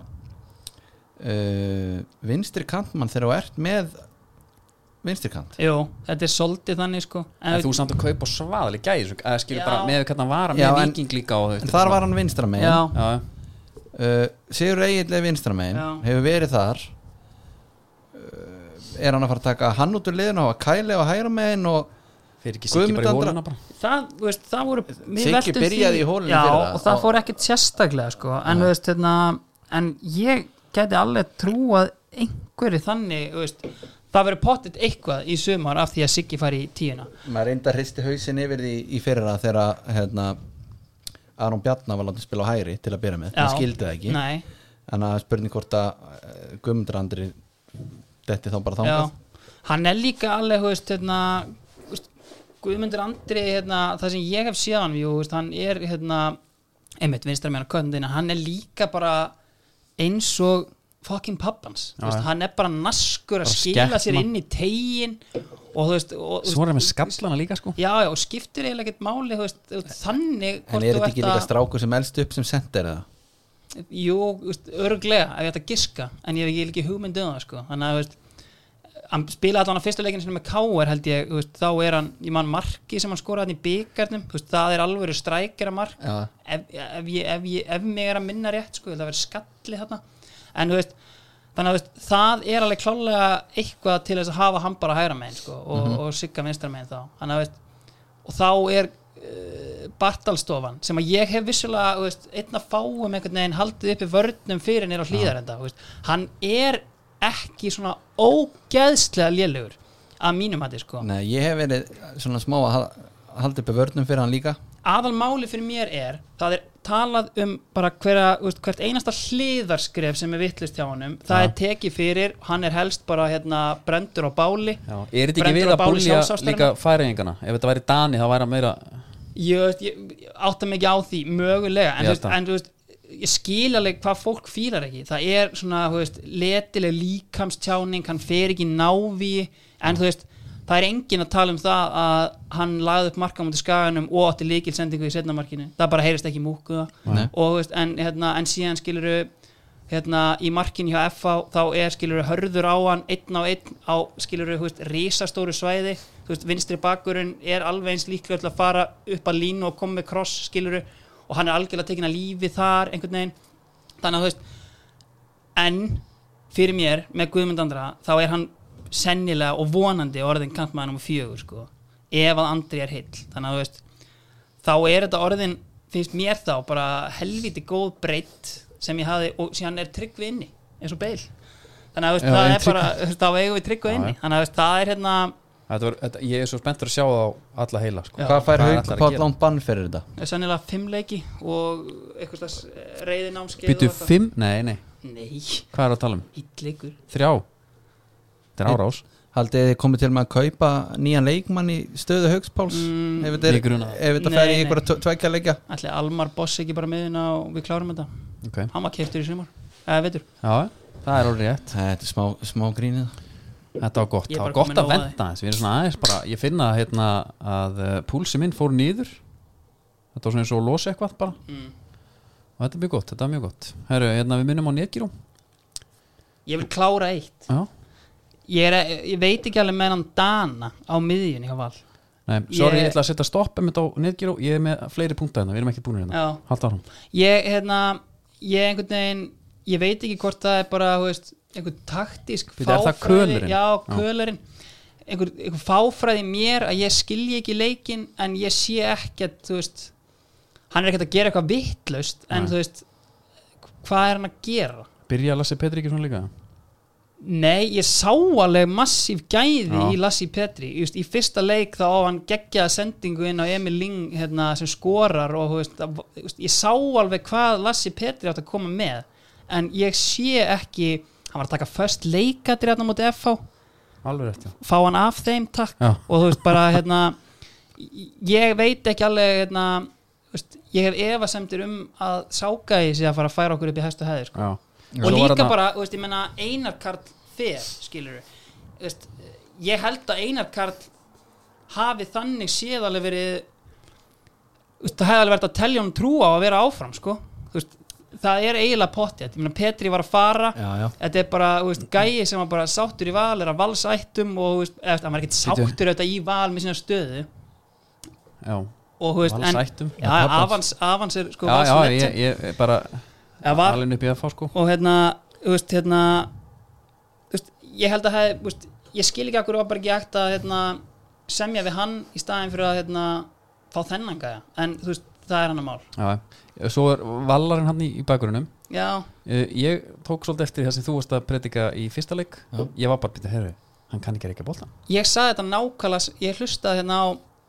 uh, vinstri kantmann þegar þú ert með vinstri kant Jú, þetta er soldið þannig sko en þú samt að kaupa svaðalega gæði svo- eða skilur Já. bara með hvernig hann var Já, með en- viking líka og, En þar var hann vinstra megin Já, já, uh, Sigur Egil er vinstra megin Já. hefur verið þar uh, er hann að fara að taka hann út úr liðinu og hafa Kæli á hægra megin og fyrir ekki sikki bara í Guðmund Andra- hóluna bara það, þú veist, það voru við Siggi veltum byrjaði því- í holunni Já, fyrir það. og það Og- fór ekkert sérstaklega sko en, þú veist, hérna, en ég gæti alveg trúað einhverju þannig þú veist, það verður pottit eitthvað í sumar af því að Siggi fari í tíuna maður reynda að hristi hausin yfir því í fyrra þegar hérna, Aron Bjarnar var látið spila á hægri til að byrja með, Já. það skildi það ekki Nei, en að spurning hvort að uh, Guðmundur Andri detti þá bara já, þangað hann er líka alveg þú veist, hérna, þú veist, Guðmundur Andri hérna, það sem ég hef séð hann jú, þú veist, hann er hérna, einmitt vinstra meina köndin hann er líka bara eins og fucking pappans Já, já. hann er bara naskur að Bara skila sér skepna. inn í tegin og þú veist og, þú svo er hann með skallana líka sko já, já, og skiptir eiginlega ekkert máli þú veist, þú veist, þannig hvort en er þú þetta ert ekki að- líka strákur sem elst upp sem sendir eða? Jú, þú veist, örglega ef ég ætta að giska, en ég hef ekki líka hugmynd um það sko. þannig að þú veist, hann spila allan að fyrstu leikinu sinni með K.R. held ég þú veist, þá er hann, ég man marki sem hann skora hann í byggarnum, veist, það er alvöru strækjara mark Já. ef, ef, ég, ef, ég, ef mig er að minna rétt sko, ég held að vera skalli þarna en þú veist, þannig að þú veist, það er alveg klálega eitthvað til þess að hafa hann bara hægra megin sko, og, og sigga vinstra megin þá þannig að þú veist, og þá er uh, Bartalstofan sem að ég hef vissulega þú veist, einn að fáum einhvern veginn haldið uppi vörnum fyrir nýra hlýðar enda þú veist. hann er ekki svona ógeðslega lélugur að mínum hætti sko Nei, ég hef verið svona smá að hal- halda uppi vörnum fyrir hann líka aðal máli fyrir mér er það er talað um bara hverja, þú veist, hvert einasta hliðarskref sem er vittlust hjá honum, það Ja. er tekið fyrir hann er helst bara hérna brendur á báli Já, er þetta ekki Brendur verið á að báli búlja sjálfsástarinnar? líka færingana ef þetta væri Dani þá væri hann meira ég, veist, ég átta mig ekki á því mögulega Ég en, þú held veist, það. en þú veist ég skil alveg hvað fólk fílar ekki það er svona, þú veist, letileg líkamstjáning hann fer ekki í návi en þú veist, það er engin að tala um það að hann lagði upp marka mútið skaganum og átti líkilsendingu í setnamarkinu það bara heyrist ekki í múkuða Nei. og, þú veist, en, hérna, en síðan skiluru hérna, í markinu hjá FH þá er skiluru hörður á hann einn á einn á skiluru þú veist, risastóru svæði þú veist, vinstri bakurinn er alveg eins líklega til að fara upp að línu og koma með kross skiluru og hann er algjörlega tekin að lífi þar einhvern veginn þannig að þú veist en fyrir mér með Guðmund Andra þá er hann sennilega og vonandi orðin kantmaður nummer fjögur sko ef að Andri er heill þannig að þú veist þá er þetta orðin finnst mér þá bara helviti góð breytt sem ég hafði og síðan er tryggvi inni eins og beil þannig að þú veist, Já, það en er bara þú veist, þá eigum við tryggvi Já, inni já. þannig að þú veist, það er hérna þetta var, þetta, ég er svo spenntur að sjá það á alla heila sko. Já. Hvað fær hann Hauk ætlar að Páll gera? Lán bann fyrir þetta? sennilega fimm leiki og eitthvað slags eh, reyðinámskeið Býtu fimm, nei, nei, nei, hvað er að tala um? hitt leikur Þrjá Þetta er árás Haldið þið komið til með að kaupa nýjan leikmann í stöðu Haugsbáls Mm, ef þetta er- mig grunar það. ef þetta Nei, fer í nei. einhverja tve- tveggja leikja Ætli Almar Boss ekki bara miðina og við klárum þetta ok, Hann var keiptur í sumar Eða veitur já, það er orðið rétt Þetta er smá, smá grínið Þetta var gott, Ég það er var bara gott komin að nóg að venda þess Við erum svona aðeins bara, ég finna hérna að uh, púlsi minn fór nýður Þetta var svona eins og losi eitthvað bara Mm. Og þetta er mjög gott, þetta er mjög gott Herru, hérna við minnum á netgírum Ég vil klára eitt Já, Ég, er, ég veit ekki alveg með hann Dana á miðjunni hjá Val nei, sorry, Ég- ég ætla að setja stopp einmitt á netgíru Ég er með fleiri punktar hérna, við erum ekki búinir hérna Já. Halda árum Ég, hérna Ég einhvern veginn Ég veit ekki hvort það er bara, þú veist Einhvern taktísk Fyrir það er það fáfræði- kölurinn. Já, Já. kölurinn Einhver, einhver fáfræði í mér að ég skilji ekki leikin En ég sé ekkert, þú veist Hann er ekkert að gera eitthvað vittlaust En Nei. þú veist Hvað er hann að gera? Byrja að lasi Petri ekki svona líka Nei, ég sá alveg massíf gæði Já. í Lassi Petri Just, Í fyrsta leik þá á hann geggjaða sendingu inn á Emil Ling hérna, sem skorar og þú veist, að, þú veist, ég sá alveg hvað Lassi Petri átt að koma með en ég sé ekki hann var að taka först leikatri hérna mútið FH Alveg rétt, já fá hann af þeim takk Já. og þú veist bara hérna ég veit ekki alveg hérna þú veist, ég hef efasemtir um að sákaði sé að fara að færa okkur upp í hæstu hæðir sko Já, og Svo var líka þarna- bara, þú veist, ég menna Einar Karl fer, skilur veist, ég held að Einar Karl hafi þannig séð alveg verið þú veist, það hefði alveg verið að telja honum trú á að vera áfram, sko Þú veist, það er eiginlega pottið, ég menna Petri var að fara Já, já þetta er bara, þú veist, gæi sem var bara sáttur í val, er að valsættum og, þú veist, eða, þú veist, hann var ekkert Bíddu. sáttur þetta í val með sína stöðu Já, og, þú veist, valsættum en, já, avans, avans er, sko, Já, já, valslegend. ég, ég er bara Eða var- alveg upp í að fá sko og hérna, þú veist, hérna þú veist, ég held að hef, veist, ég skil ekki akkur var bara ekki egt að hérna, semja við hann í staðin fyrir að hérna, fá þennan gæja en þú veist, það er hann að mál Já, já. svo er vallarinn hann í, í bakgrunum já, Eh, Ég tók svolítið eftir það sem þú varst að predika í fyrsta leik Ég var bara býta, herru, hann kann ekki að reykja bolta ég sagði þetta nákvæmlega ég hlustaði hérna á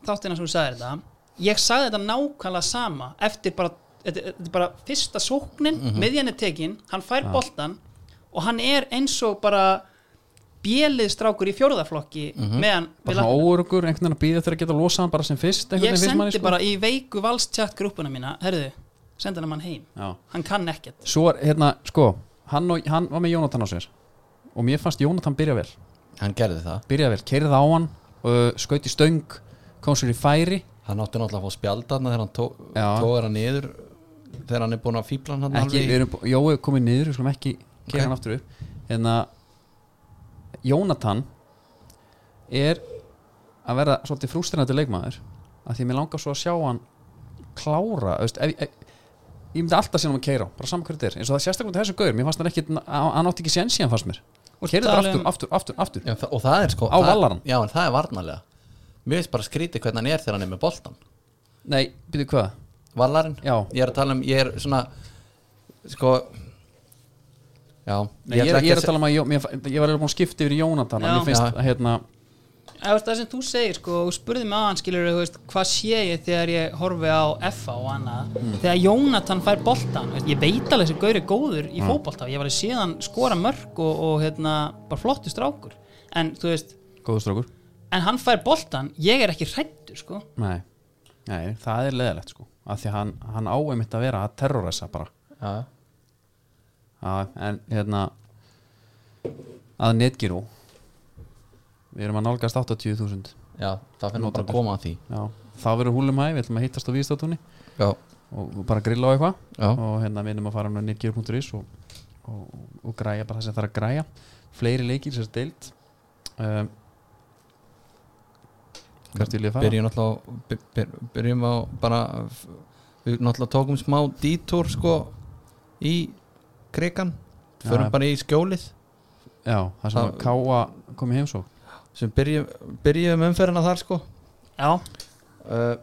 þáttina sem þú sagði þetta ég sagði þetta nákvæmlega sama eftir bara, þetta, þetta er bara fyrsta sóknin, Mhm. mm -hmm. miðjan er tekin hann fær boltan og hann er eins og bara bjelið strákur í fjórðaflokki meðan Mhm. við Bara svona óurugur, einhvern veginn að býða þegar að geta losa hann bara sem fyrst einhvern ég veginn finnst sendi manni, sko. bara í veiku valstjátt grúppuna mína herðu, senda hann mann heim Já. hann kann ekkert Svo er, hérna, sko, hann, og, hann var með Jónatan á sér Og mér fannst Jónatan byrja vel Hann gerði það Byrja vel, keirið á hann, uh, skaut í stöng, kom sér í færi Hann átti náttúrulega að fá spjaldarna þegar hann tó, Já. tóður hann niður þegar hann er búin að fíbla hann ekki, við erum, Jói er komið niður, við skulum ekki Ok. kera hann aftur upp en að Jónatan er að vera svolítið frústrinandi leikmaður að því að mér langar svo að sjá hann klára, þú veist, ef, ef, ég myndi alltaf síðan um að keira, bara saman hverju þetta er eins og það er sérstaklega með þessum gauður, mér fannst hann ekki hann átti ekki sén síðan fannst mér Og keira þetta tala aftur, um- aftur, aftur, aftur Já, þa- og það er sko Á það- vallarann. Já, en það er varnarlega Mér veist bara skrítið hvernig hann er þegar hann er með boltan nei, byrju hvað, Vallarinn Já. Ég er að tala um, ég er svona Sko Já nei, ég, ætla er- ekki ég er se- að tala um að Jó- mér fa- ég var eiginlega búinn að skipta yfir í Jónatan en Já. mér finnst Já. að hérna, Eða, veist, það sem þú segir sko og spurði mig á hann skilur veist, hvað sé ég þegar ég horfi á FA og annað þegar Jónatan fær boltan veist, ég veit alveg þessi gauri góður í mm. fótbolta ég var alveg síðan skora mörg og, og hérna, bara flottu strákur en, þú veist, góðustrákur en hann fær boltan ég er ekki hrættur sko Nei, nei það er leðilegt sko af því að hann, hann á einmitt að vera að terrorisa bara Já, að, en hérna að netgirú við erum að nálgast 80.000 já, það finnum bara Notendur. að koma að því já, þá verður húlum hæ, við ætlum að hittast á víðstátunni Já, og og bara grilla á eitthvað Já. og hérna við erum að fara með netgirú.is og, og, og græja bara það sem það er að græja fleiri leikir sem er deilt um, hvert vil ég fara? byrjum náttúrulega á- by- by- byrjum á bara f- við náttúrulega tókum smá dítúr sko í krigan Já, förum já. bara í skjólið já, það sem að Það- káa komið heimsók sem byrjum, byrjum umferðina þar sko já, uh,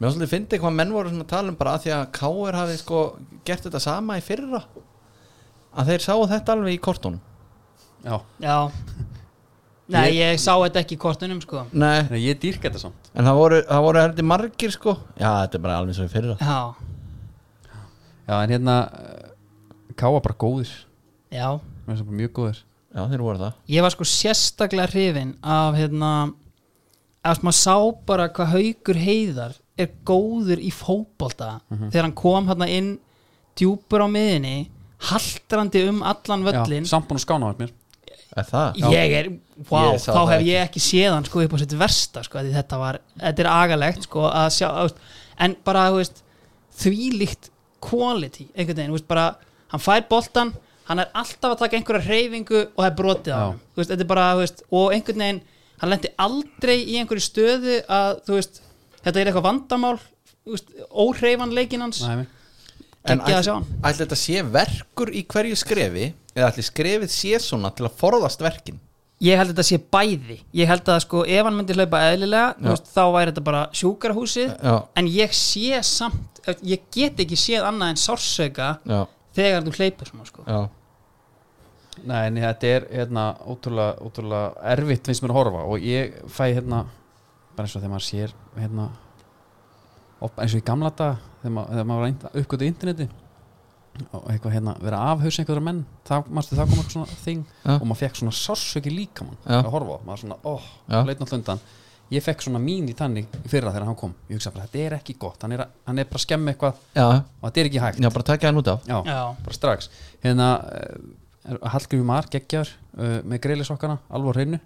Mér var svolítið að fyndi hvað menn voru svona að tala um bara að því að K.R. hafi sko gert þetta sama í fyrra að þeir sáu þetta alveg í kortunum já, já Nei, Ég- ég sá þetta ekki í kortunum sko Nei, Nei, ég dýrk þetta samt en það voru, það voru heldur margir sko Já, þetta er bara alveg svo í fyrra Já, Já, en hérna eh, Káa bara góðir já Mér finnst það bara mjög góðir Já, þeir voru það ég var sko sérstaklega hrifin af hérna að maður sá bara hvað haugur heiðar er góður í fótbolta þegar hann kom hérna inn djúpur á miðinni haldrandi um allan völlin samt búin að skána á mér Er það? ég er, wow, Ég sá þá það hef ég ekki séð hann sko upp á sitt versta sko, því þetta var, þetta er agalegt sko að sjá, þú veist, en bara þú veist, þvílíkt quality einhvern veginn, þú veist, bara hann fær boltan, hann er alltaf að taka einhverja reyfingu og það er brotið á Já. hann veist, þetta er bara, þú veist, og einhvern veginn hann lendi aldrei í einhverju stöðu að, þú veist, þetta er eitthvað vandamál þú veist, óhreyfanleikin hans Nei, En Geggjað að ætli- sjá hann. ætli þetta sé verkur í hverju skrefi eða ætli skrefið sé svona til að forðast verkin ég held að þetta sé bæði ég held að sko ef hann myndi hlaupa eðlilega þú Já. veist, þá væri þetta bara sjúkrahúsið Já. en ég sé samt ég get ekki séð annað en sársauka Já, þegar þú hleypur svona sko já Nei, en þetta er hérna ótrúlega, ótrúlega erfitt finnst mér að horfa og ég fæ hérna bara eins og þegar maður sér hérna op, eins og í gamla dag þegar, ma þegar maður var uppgötu interneti og eitthvað hérna vera afhaus einhverja menn þá, manstu, þá kom eitthvað svona þing Já. og maður fekk svona sársöki líka mann Já. að horfa á, maður svona, óh, Já. oh, leitna hlundan ég fekk svona mín í tannig í fyrra þegar hann kom ég hugsa bara, þetta er ekki gott, hann er, að- hann er bara að skemmi eitthvað Já, og þetta er ekki hægt já bara takja hann út af Já já, bara strax hérna uh, Hallgrími Mar geggjar uh, með greiðlisokkana alvor hreinu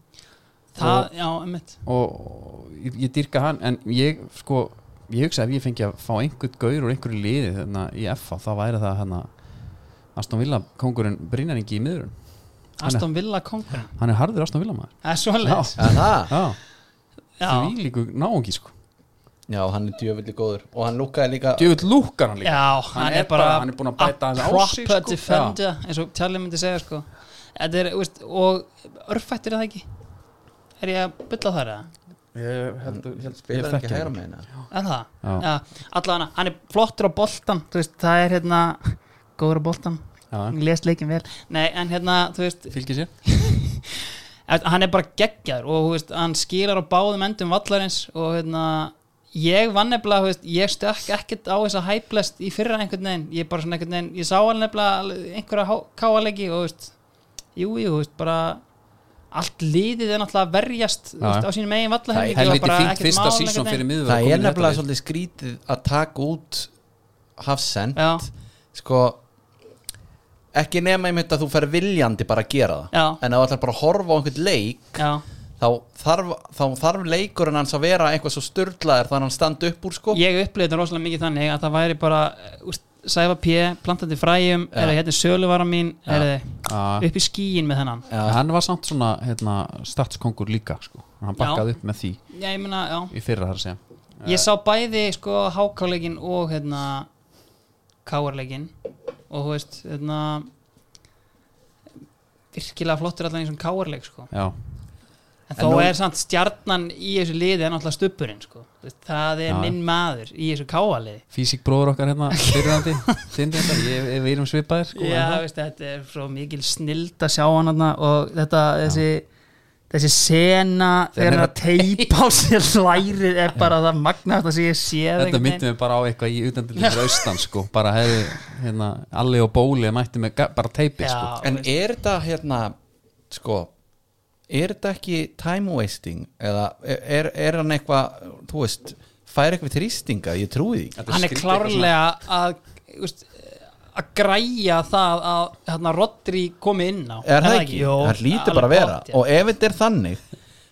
það, já, emmitt og, og ég, ég dyrka hann en ég sko ég hugsa ef ég fengi að fá einhvern gaur úr einhverju liði þarna í FA þá væri það hérna Aston Villa kongurinn Brynjaringi í miðurinn Aston Villa konkurinn, hann er harður Aston Villa maður það er svoleiðis Já. Já, það já, já, því líku náungi sko Já, hann er djöfulli góður og hann lúkaði líka djöfull lúkar hann líka já hann, er, bara, hann er búin að bæta a aðeins á sig, proper sko. defender eins og Charlie myndi segja sko þetta er, þú veist, og örfættur er það ekki er ég að bylla þar eða? ég held, held Spilar hann ekki hægra með henni Er það? Já. Já, allavega hann er flottur á boltan þú veist, það er hérna góður á boltan, já, les leikin vel nei, en hérna, þú veist, fylgir sér eft- hann er bara geggjaður og þú veist, hann skilar á báðum endum vallarins og hérna ég vann nefnilega, þú veist, ég stökk ekkert á þessa hæplest í fyrra einhvern veginn ég bara svona einhvern veginn, ég sá alveg nefnilega alveg einhverja káalegi og þú veist jú, jú, þú veist, bara allt liðið er náttúrulega að verjast þú Já, veist, já. á sínum eigin vallahelmingi og helviti bara fínt ekkert fyrsta mál, einhvern sísón veginn. fyrir miður Það er nefnilega svolítið skrítið að taka út Hafsend Já. Sko Ekki nema einmitt að þú fer viljandi bara að gera það Já. En ef þú ætlar bara að horfa á einhvern leik já þá þarf, þá þarf leikurinn hans að vera eitthvað svo störlaður þannig að hann standi upp úr sko ég upplýði þetta rosalega mikið þannig að það væri bara úst, Sæfa P, plantandi fræjum ja. er það hérna er söluvara mín ja. er Já. upp í skíin með þennan En hann var samt svona hérna, statskongur líka sko. hann bakkaði upp með því já, ég, mena, já. í fyrra þar að segja ég sá bæði sko hákáleikin og hérna káarleikin og þú veist hérna virkilega flottur allan eins og káarleik sko já, en En þó nú- er samt stjarnan í þessu liði en alltaf stubburinn sko Þú veist, það er Já. minn maður í þessu káarliði físík bróður okkar hérna fyrirandi, þinn þetta, ég, ég, við erum svipaðir sko, Já, en það- veist, þetta er svo mikil snild að sjá hann hana og þetta, þessi þessi sena þegar hann er að teipa á sér lærið er bara það magnast að sé ég séð þetta einhvern myndum við bara á eitthvað í utendilir fyrir austan sko, bara hefði hérna, alli og bóli mætti með ga- bara teipi sko. Já, En er þetta hérna sko er þetta ekki time wasting eða er, er hann eitthvað þú veist, fær eitthvað þrýstinga ég trúi því Þetta hann er skrítið klárlega að þú veist, að græja það að hérna, Rodri komi inn á er það ekki, Jó, hann lítur alveg bara að vera gott, já. og ef þetta er þannig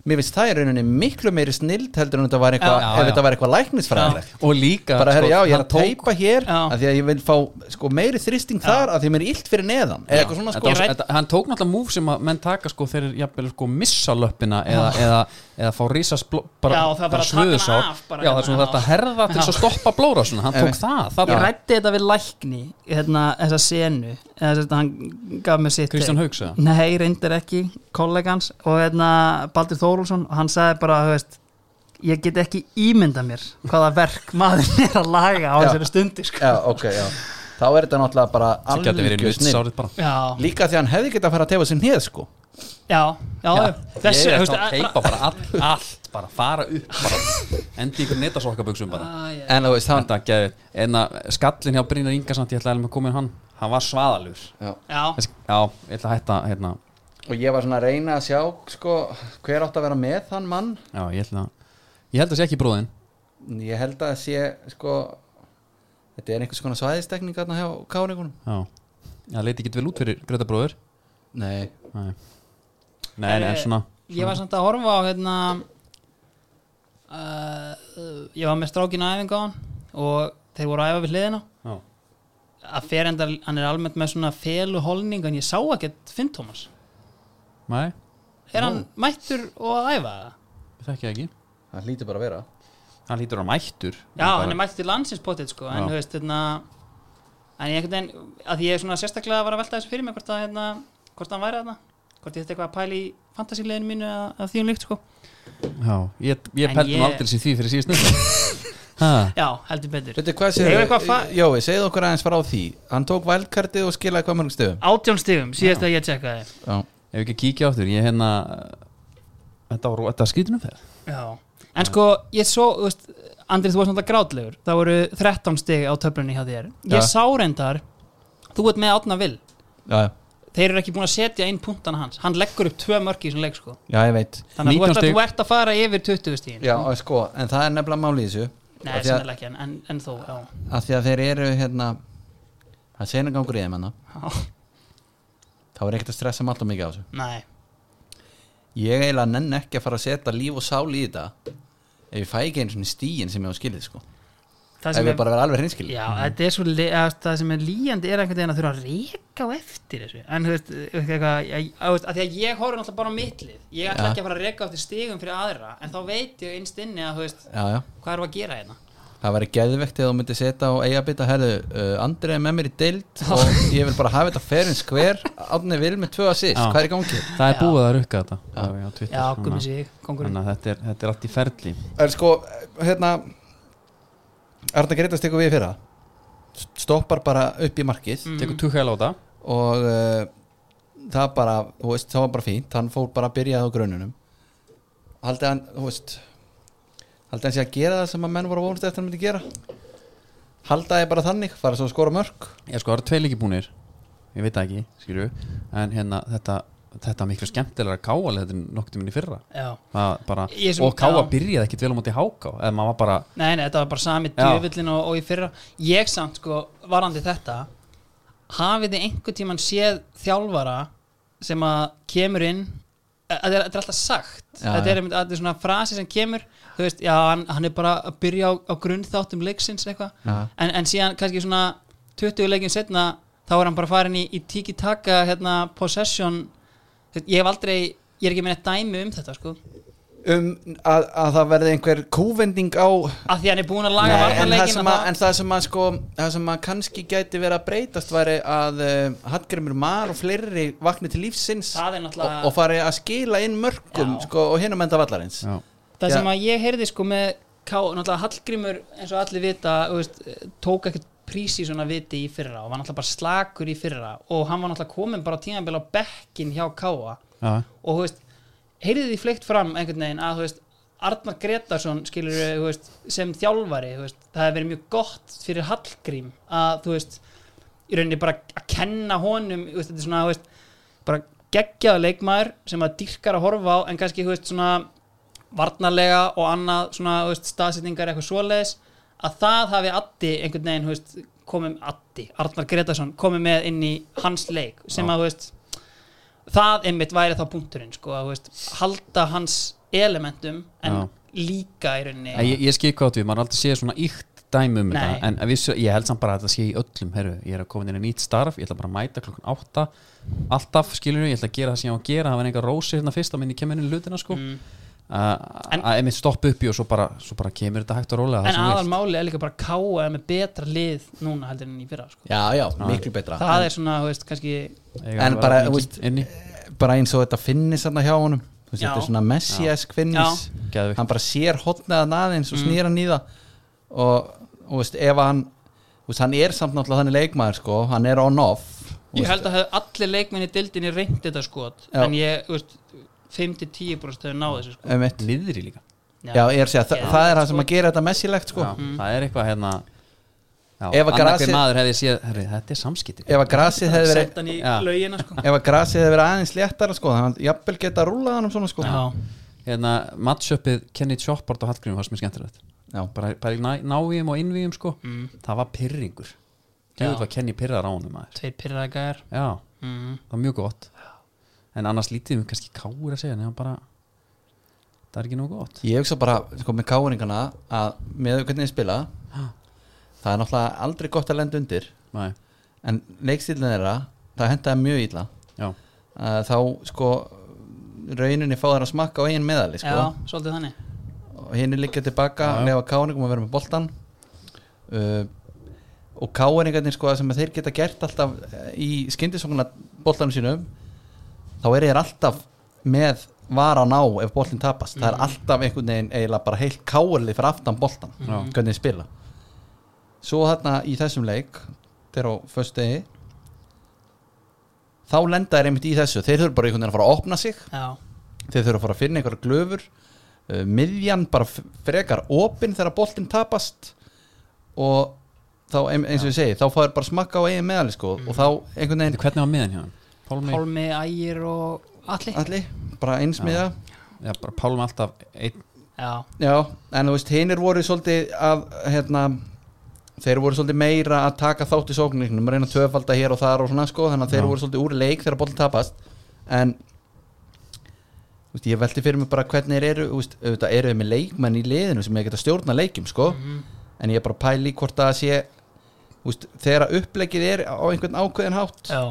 mér finnst það í rauninni miklu meiri snild heldur en þetta var eitthvað, Já, sko, já, ef já. þetta var eitthvað læknisfræðilegt og líka bara herri, já, ég er hann að teipa hér Já. af því að ég vil fá sko, meiri þrýsting þar af því að mér er illt fyrir neðan eða eitthvað svona Þetta sko var- Ég rædd- þetta- hann tók náttúrulega múf sem að menn taka sko þegar jafnvel sko missa löppina eða, eða, eða fá rísa spló- bara, Já, það er bara að taka hana svöðusár. af bara já, hérna, það er svona já. þetta herða til þess að stoppa blóra svona. hann tók Einmitt. það, Ég það rætti þetta við lækni hérna, þessa senu eða, þess að hann gaf mér sitt Kristján Hauks, eh, eða? Nei, reyndir ekki, kollegans og hérna, Baldur Þórulsson og hann sagði bara, þú veist ég get ekki ímynda mér hvaða verk maður er að laga á Já. þessari stundi sko. já, ok, já þá er þetta náttúrulega bara það geti verið algjör snill vitsárið bara já, líka því að hann hefði getað að fara að tefa sér neð sko já, já, já. þessu, ég þú er veist, þá að teipa bara allt, allt bara fara upp bara endi ykkur netasokkabuxum bara að- en þú veist, hann þetta geði en að skallin hjá Brynjar Ingarsson ég ætla að koma inn hann hann var svaðalur já, já, já, ég ætla að hætta hérna og ég var svona að reyna að sjá sko, hver átt að vera með þann mann Já, ég held að Ég held að sé ekki bróðin ég held að sé sko, þetta er einhvers konar svæðistekning hérna hjá káningunum Já Það leiti ekki vel út fyrir Greta bróður nei, Nei Nei, nei, Eh. en svona Ég var samt að horfa á hérna uh, Ég var með strákinu æfingu á hann og þeir voru að æfa við hliðina Já að fer enda, hann er almennt með svona felu holning en ég sá ekkert Finn Thomas Nei, er hann mættur og að æfa það? ég þekki það ekki það hlýtur bara að vera Hann lítur á mættur Já, hann er mættur til landsins potið sko, en Já. þú veist hérna, en ég einhvern veginn að því ég er svona sérstaklega að var að velta þessu fyrir mig hvort, að, hérna, hvort hann væri þarna hvort ég þetta eitthvað að pæla í fantasíleginu mínu að, að því hún líkt sko Já, ég, ég En pæltum ég- ég... aldrei sér því fyrir síðust Ha, Já, heldur betur Veitu, hvað Hefur eitthvað fa- séu, Jói, segðu okkur aðeins frá því hann tók vælkartið og skilaði hvað mörgum stöðum Átjón stigum, síðast að ég tjekkaði já, ef ekki að kíkja áttur Ég hérna Þetta var, þetta var skrítinum þegar Já, en sko ég svo, þú veist, Andri þú varst náttúrulega grátlegur það voru 13 stig á töflunni hjá þér ég Já. sá reyndar, þú ert með Átna Vil já, þeir eru ekki búin að setja inn punktana hans hann leggur upp tvö mörki í svona leik sko já, ég veit þannig 19 að þú ert, að stig. þú ert að fara yfir 20 stíðin já, og sko, en það er nefnilega máli í þessu Nei, Af því að, sannlega ekki, en, en, en þó já. að því að þeir eru hérna það segna gangur í þeim hann Já. þá er ekkert að stressa mig alltaf mikið á þessu Nei, ég eiginlega nenn ekki að fara að setja líf og sál í þetta ef ég fæ ekki einu svona stíin sem ég á skilið sko. það ef sem ég er bara vera alveg hreinskilið Já, þetta er svo li- eða, það sem er líjandi er einhvern veginn að þurfa að reyka á eftir þessu en þú veist, eitthvað, að, að, að því að ég horfði náttúrulega bara á mittlið ég ætla Já. ekki að fara að reyka á eftir stigum fyrir aðra en þá veit ég innst inni að þú veist, já, já. hvað erum við að gera hérna það væri geðvegt ef þú myndir setja á eigabita herðu, uh, Andrið er með mér í deild og ég vil bara hafa þetta ferin skver átni vil með tvö assist, Já. hvað er í gangi? Það er Já. búið að rukka þetta Já, já, Twitter, Já, þannig komið að- sig, kongurinn Þannig að þetta er, þetta er allt í ferli er sko, hérna Arna Greitast tekur við fyrra stoppar bara upp í markið Mm. Tekur tukka láta og uh, það bara, þú veist, það var bara fínt hann fór bara að byrja á grununum haldið hann, þú veist haldið hann sé að gera það sem að menn voru að vonast eftir hann myndi gera haldaði bara þannig, fara svo að skora mörg Ég sko, það eru tvei leiki búnir Ég veit það ekki, skilju En hérna, þetta, þetta var miklu skemmtilega að káa Þetta er noktið minni fyrra Já, Það bara, Ég sem- Og káa já. byrjaði ekkit vel á móti háká Eða maður var bara, nei, nei, þetta var bara sami Já. djöfullin og, og í fyrra Ég samt, sko, varandi þetta hafið þið einhvern tíman séð þjálfara sem að kemur inn að þetta er, þetta er alltaf sagt Já, þetta, já. er, einmitt- þetta er svona frasi sem kemur þú veist, já, hann, hann er bara að byrja á, á grunnþáttum leiksins eitthvað Já. en, en síðan kannski svona 20 leikin setna þá er hann bara farin í, í tiki-taka hérna, possession Þú veist, ég hef aldrei, ég er ekki meina dæmi um þetta sko, um að, að það verði einhver kúvending á að því hann er búin að laga Nei, en, það varnarleikin sem að, en það sem að sko það sem að kannski gæti verið að breytast væri að uh, Hallgrimur Mar og fleiri vakni til lífsins Það er náttúrulega- og, og fari að skila inn mörgum Já. sko, og hinum enda vallarins já, það Já. sem að ég heyrði sko með K, náttúrulega Hallgrímur eins og allir vita þú veist, tók ekkert prís í svona viti í fyrra og var náttúrulega bara slakur í fyrra og hann var náttúrulega komin bara tímanbel á bekkin hjá Káa já, og þú veist, heyrði því fleikt fram einhvern veginn að þú veist, Arnar Gretarsson skilur þú veist, sem þjálfari þú veist, það hefði verið mjög gott fyrir Hallgrím að þú veist í rauninni bara að kenna honum þú veist, þetta er svona þú veist, bara geggjaða leikmaður sem að dýrkar að horfa á en kannski þú veist, svona varnarlega og annað svona þú veist, staðsetningar eitthvað svoleiðis að það hafi Addi einhvern veginn þú veist, komið með Addi, Arnar Gretarsson komið með inn í hans leik sem að þú veist, það einmitt væri þá punkturinn sko, að þú veist, halda hans elementum en Já. líka í rauninni Ég, ég skil hvað átt við, maður er aldrei séð svona íkt dæmi um Nei. þetta En vissu, ég held samt bara að þetta sé í öllum heru. Ég er að koma inn í nýtt starf, ég ætla bara að mæta klokkan átta Alltaf, skilur ég ætla að gera það sem ég á að gera Það var enga rósi hérna fyrst á minni kemur inn í lutina sko mm. En- Að emitt stoppa upp í og svo bara, svo bara kemur þetta hægt og rólega það en sem þú vilt. aðal máli er líka bara káa með betra lið núna heldur enn í fyrra sko. já, já, miklu betra það er svona, þú veist, kannski Eiga En að vera bara, mikið þú veist- inni bara eins og þetta finnis þarna hjá honum Þú veist, Já. þetta er svona messiesk finnis Geðveikt. hann bara sér hotnaða naðins Mm. og snýr hann í það og, og veist, ef hann þú veist, hann er samt náttúrulega þannig leikmaður sko, hann er on-off ég þú veist. held að hefðu allir leikmenn í dildinni reynd þetta skot Já. en ég, þú veist, 5-10% hefur náð þessu sko. um eitt Niðri líka Já, ég er að segja, þa Já, það er það sko. Mm. sem að gera þetta messilegt sko. Já, Það er eitthvað hérna Já, Ef að annar grasi... grasið- maður hefði séð, herri, þetta er samskipti ef að grasið hefði verið Sett hann í Já. laugina sko ef að grasið hefði verið aðeins léttara sko þannig að jafnvel geta rúlað hann um svona sko Já, hérna, matchupið Kenny Choppard og Hallgrim var sem er skemmtilegt Já. bara, bara í ná- návíum og innvíum sko Mm. það var pyrringur Já. Gjöðu var Kenny pyrrar á honum maður tveir pyrraðgæðar Já, mm. það var mjög gott en annars lítið um kannski káur að segja nefnum bara það er ekki nóg gott ég hugsa bara sko með káringana að með hvernig þið spila það er náttúrulega aldrei gott að lenda undir Nei, en leikstílinn þeirra það hendaði mjög illa já, að þá sko rauninni fá þær að smakka á einn meðali sko Já, svolítið þannig og hinn er líka tilbaka Já, já. lefa káringum að vera með boltan uh, og káringarnir sko sem að þeir geta gert alltaf eh, í skyndisóknuna boltanum sínum þá er þeir alltaf með varan á ef boltin tapast það er Mm. alltaf einhvern veginn eiginlega bara heilt kárlið fyrir aftan boltan, Mm. Já. hvernig þeir spila svo þarna í þessum leik þeir á föstudegi þá lenda þeir einmitt í þessu þeir þurfa bara einhvern veginn að fara að opna sig Já, þeir þurfa að fara að finna einhverja glöfur uh, miðjan bara f- frekar opinn þegar boltinn tapast og þá ein- eins og ég segi þá fáður bara smakka á eigin meðal sko, og þá einhvern Þetta, veginn hvernig var miðan hjá hann? Pálmi, Pálmi, Ægir og Alli allir bara einsmiða já, bara Pálmi alltaf einn, Já, já, en þú veist hinnir voru svolítið að hérna þeir voru svolítið meira að taka þátt í sóknirnum reyna að töfalda hér og þar og svona sko þannig að þeir Já. voru svolítið úr leik þegar boltinn tapast en þú veist, ég velti fyrir mig bara hvernig þeir eru þú veist, auðvitað eru þeir með leikmenn í liðinu sem er geta stjórna leikim sko Mm. en ég er bara að pæla í hvort það sé þú veist, þegar að uppleggið er á einhvern ákveðin hátt já,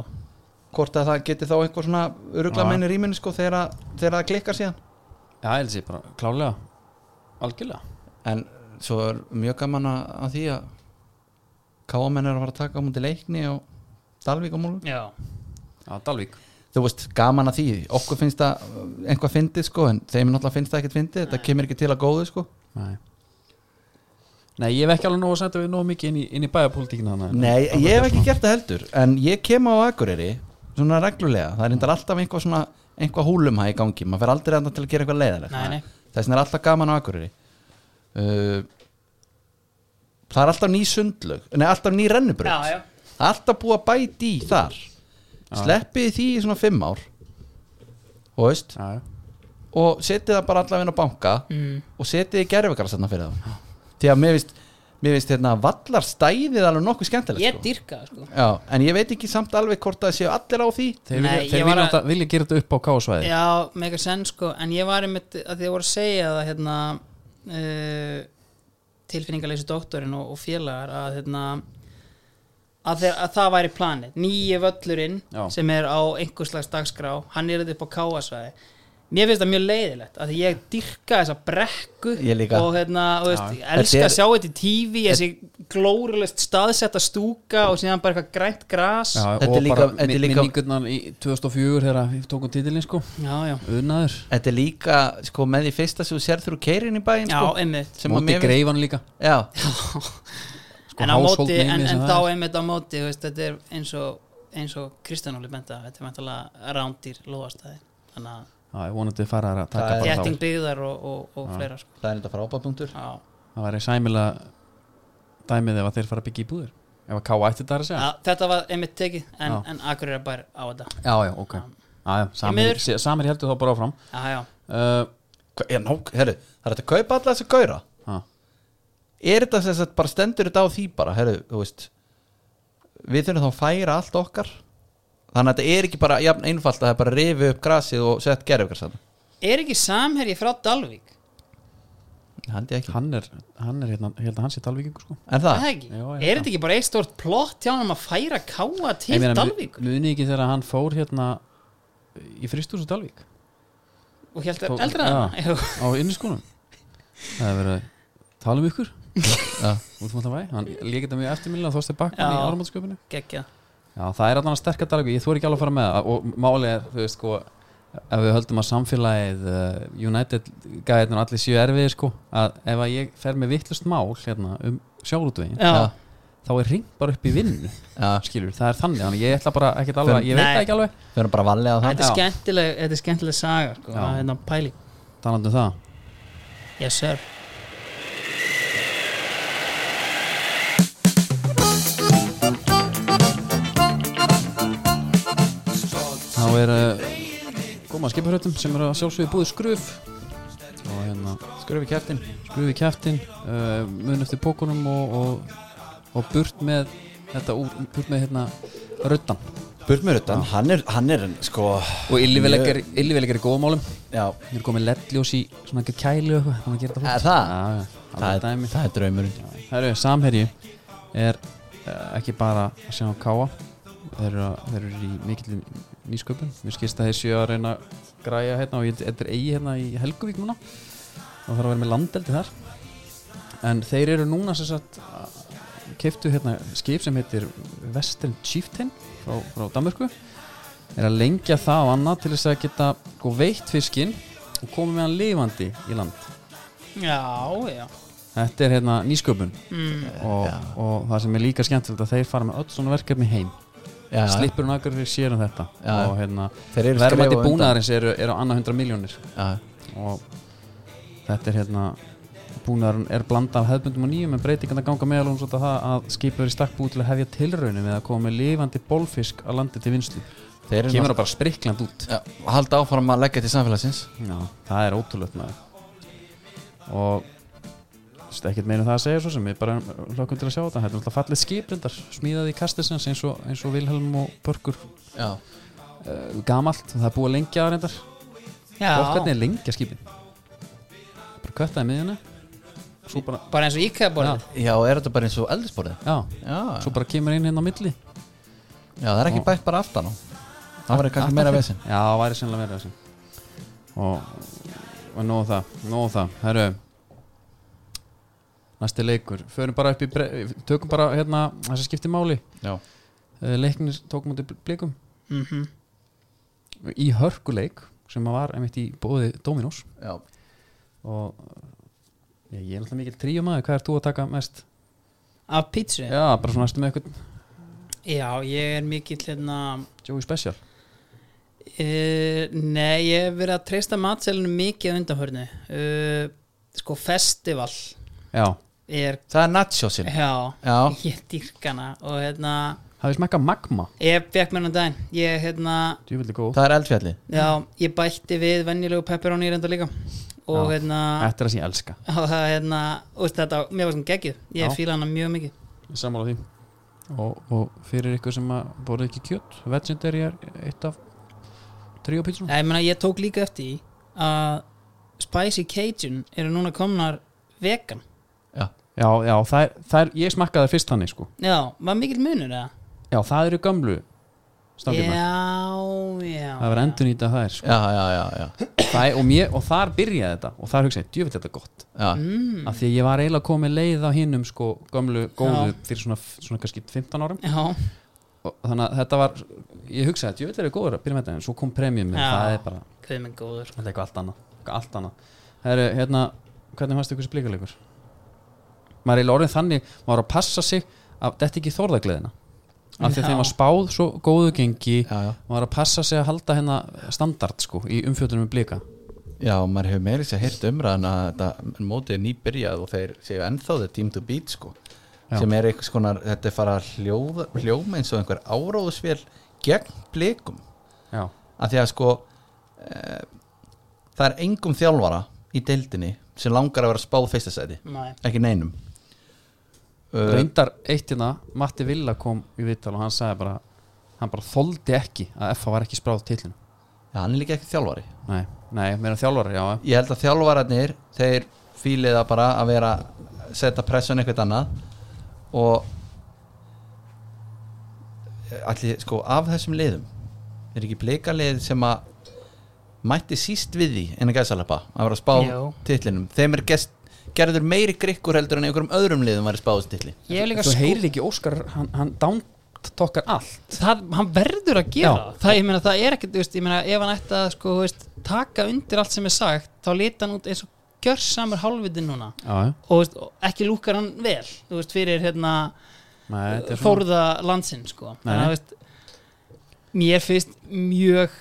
hvort að það geti þá einhver svona örugla Já. menn í rýminu sko þegar, að- þegar það klikkar síðan já, elsi, bara klálega algjörlega en svo er mjög gaman að, að því að káamenn er að fara að taka á múti leikni og Dalvík á múlum já Já, Dalvík þú veist, gaman að því, okkur finnst það uh, eitthvað fyndið sko, en þeim náttúrulega finnst það ekkert fyndið þetta kemur ekki til að góðu sko Nei. Nei, ég hef ekki alveg nóg að senda við nóg mikið inn í, inn í bæjarpólitíkina þannig að- Nei, þannig að ég hef þetta ekki svona- gert það heldur en ég kem á Akureyri svona reglulega, það er reyndar alltaf einhvað svona einhvað húlumha í gangi, maður fer aldrei andan til að gera eitthvað leiðilegt Nei, nei. þess vegna er alltaf gaman á Akureyri uh, Það er alltaf ný sundlög Nei, alltaf ný rennubraut Já, já. Það er alltaf búið að bæti í þar Sleppið því í svona fimm ár Þú veist Já, já. og setið það bara allavega inn á banka Mm. og setið í gerfikarastanna fyrir það því að mér finnst mér finnst hérna vallar stæðið alveg nokkuð skemmtilegt Ég sko. dyrka, sko Já, en ég veit ekki samt alveg hvort að séu allir á því Þeir, Nei, vilja, ég þeir var vilja, að- að... vilja gera þetta upp á kásvæði Já, mega senn sko en ég var einmitt að því að voru að segja það hérna uh, tilfinningaleysi doktorinn og, og félagar að hérna að, þeir, að það væri planið nýju völlurinn Já. sem er á einhvers slags dagskrá hann er þetta upp á káasvæði mér finnst það mjög leiðilegt að ég dyrka þessa brekku Ég líka. og hérna og veist, Já. elska Þetta er- að sjá þetta í tífi þessi glórulegst staðsetta stúka og síðan bara eitthvað grænt gras já, og Þetta er líka- bara þetta er líka- minningurnar í 2004 þegar við tókum titilin sko já, já, unaður, Þetta er líka sko, með því fyrsta sem þú sér þrú keirin í bæinn sko, einmitt sem að móti mér greifan líka Já, Sko, en á household móti, name en, sem en það þá er. einmitt á móti þú veist, þetta er eins og, eins og Kristján Óli benda, þetta er mentalega rándýr lóðastæði, þannig að Já, ég vonandi fara að taka Það er- bara þétting þá byggðar og, og, og fleira sko. það er þetta frábæpunktur Já. það væri sæmilega dæmið ef að þeir fara að byggja í búður ef að káa ætti þetta að segja Já, þetta var einmitt tekið en, Já. en Akureyra bær á þetta já, já, ok Já, já, miður. samir, sé- samir heldur þá bara áfram já, já. uh, Hva- Já, ná, herru, það er þetta að kaupa alla þessu gaura já, Er þetta sem sagt bara stendur þetta á því bara herru, þú veist Við þurfum þá að færa allt okkar Þannig að þetta er ekki bara jafn einfalt að það er bara að rifi upp grasið og sett gerfikarastanna er ekki samherji frá Dalvík Haldi ég ekki hann er, hann er hérna, ég held að hann sé talvíkingur sko Er Er það? það ekki? Já, já. er þetta ekki bara eitt stórt plott hjá hann um að færa káa til Ég meina, mu- Dalvík muni ekki þegar hann fór hérna í fristús og Dalvík og held Tók- að eldra Já. hana á inniskónum það er verið að tala um ykkur útmáttavæ, hann líkir þetta mjög eftirminnilega þóst þeir bakkan í Já. áramátskjöpinu geggja Já, það er allan að sterkja Dalvík, ég þóri ekki alveg að fara með það og málið er, þú veist, sko ef við höldum að samfélagið uh, United gæðirnir allir séu erfiðir sko að ef að ég fer með vittlust mál hérna um sjárutvegin já, Já. þá er ring bara upp í vinnu, Já, skilur, það er þannig þannig ég ætla bara ekkert alveg, ég veit Nei. það ekki alveg við erum bara að valja á það þetta er Já. skemmtileg þetta er skemmtileg saga sko, Já. að hérna pæli talandi um það yes sir er uh, góma skipurhautum sem eru að sjálfsögðu búið skruf og hérna Skurfi kæftin skruf í kæftin uh, mun eftir pókunum og, og, og burt með þetta úr, burt með hérna röddan Burt mér utan, hann er, hann er en, sko og illiveleggar illiveleggar í góðmálum Já, þeir eru komið leddljós í svona ekki kælu og eitthvað þannig að gera þetta Er flott. það? Já, já, alveg það er, dæmi. það er draumurinn Herru, samherji er uh, ekki bara að sjá um káa þeir eru, að- þeir eru í mikill nýsköpun mér skilst að þeir séu að reyna að græja hérna og ég- þetta er eigi hérna í Helguvík núna og það er að vera með landeldi þar en þeir eru núna sem sagt keiftu hérna skip sem heitir Western Chieftain frá, frá Danmörku er að lengja það og annað til þess að geta sko, veitt fiskinn og komið með hann lifandi í land Já, já þetta er hérna nýsköpun mm. og, Já. og það sem er líka skemmtilegt að þeir fara með öll svona verkefni heim Já, Slippur hún akkur fyrir sér um þetta Já. og hérna, þeir eru verðmætti skref á undan. búnaðarins eru, eru annað hundra miljónir Já, og þetta er hérna búnaðarinn er blanda af hefðbundum og nýjum en breytingarna ganga meðal hún svolítið að það að skipur í stakk búið til að hefja tilraunum við að koma með lifandi bólfisk að landi til vinslu Þeir eru kemur það bara sprikland út Já, halda áfram að leggja til samfélagsins Já, það er ótrúlegt maður og þú veist, ekkert meina það að segja svo sem við bara hlokkum til að sjá þetta þetta er alltaf fallið skiprindar smíðaði í kastisins eins og, eins og Vilhelm og Börgur Já, uh, gamalt, það er búið að lengja það reyndar já. og hvernig er lengja skipin bara kvættaði miðjuna svo bara, Bara eins og íkæðborð já er þetta bara eins og eldisborðið já, Já, svo bara kemur inn hérna á milli já það er ekki bætt bara aftan á Það var kannski Aftan meira fyrir. vesinn Já, það væri sennilega verið þessi Og, og nóðu það, nóðu það Herru Næsti leikur, förum bara upp í bre... Tökum bara hérna, það sem skiptir máli Já, Eh, Leiknir tókum út í blikum mm -hmm. Í hörkuleik sem að var einmitt í bóði Dominos já Og eh, ég er alltaf mikil tríumæður, hvað er þú að taka mest? Af pítsu já. Já, bara svona næstu með eitthvað ég er mikill hérna Joey Special uh, Nei, ég hef verið að treysta matselinu mikið á undanhörnu uh, Sko, festival Já, er Það er nachosinn Já, Já. ég dýrkana og hérna hafði smakka magma Ég fekk mér um daginn Ég hérna Djúvillig góð Það er eldfjalli Já, ég bætti við venjulegu pepperoni reynda líka og Já. hérna Þetta er það sem ég elska og það hérna, úst, þetta, mér var svona geggjuð Já. ég fíla hana mjög mikið Ég sammála því og, og fyrir ykkur sem að borðið ekki kjött Vegendary er eitt af tríó pítsunum ég, meina, ég tók líka eftir því að Spicy Cajun eru núna komnar vegan Já, Já, já, það er, það er, ég smakkaði þær fyrst þannig sko já, var mikill munur eða? Já, það eru gamlu stangirnar já, já Það verður endur nýta þær sko já, já, já, já. það er, og, mér, og þar byrjaði þetta og þar hugsaði, djöfitt þetta er gott já. mm, Af því að ég var eiginlega komið leið á hinnum sko gamlu góðu fyrir svona, svona kannski 15 árum já, og þannig að þetta var, ég hugsaði, djöfitt þetta er góður að byrja með þetta en svo kom premium Já. það er bara, hvað er með góður þetta er eitthvað allt annað eitthvað allt annað Heru, hérna, hvernig fannst ykkur þessi blíkuleikur? maður er í orðin þannig maður er að passa sig að þetta ekki þórðagleðina af því Já. að þeim var spáð svo góðu gengi já, já. maður er að passa sig að halda hérna standard sko í umfjöldunum með blíka já maður hefur meiri sér heyrt umræðan að þetta mótið er nýbyrjað og þeir séu ennþá þeir team to beat sko Já. sem er einhvers konar, þetta er fara að hljóða, hljóma eins og einhver áráðusvél gegn blikum já, að því að sko e, það er engum þjálfara í deildinni sem langar að vera spáð fyrsta sæti, Nei. ekki neinum uh, reyndar eitt hérna Matti Villa kom í viðtal og hann sagði bara hann bara þoldi ekki að FH var ekki spráð tillinu ja, hann er líka ekki þjálfari nei, nei, meira þjálfari, já ég held að þjálfararnir þeir fíliða bara að vera setja pressun eitthvað annað og allir sko af þessum liðum er ekki blikalið sem að mætti síst við því en að gæsalappa að vera að spá Jú. titlinum þeim er gest, gerður meiri grikkur heldur en einhverjum öðrum liðum væri spáðist titli ég hef líka þú sko heyrir ekki Óskar, hann, hann downtokkar allt það, hann verður að gera Já. það. það, ég meina, það er ekkert, þú veist, ég meina, ef hann ætti að sko, þú veist, taka undir allt sem er sagt þá lita hann út eins og gjörsamur hálfviti núna já, já, og þú veist, og ekki lúkar hann vel þú veist, fyrir hérna, nei, þetta er svona- þórða landsinn sko. Nei. þannig að þú veist, mér finnst mjög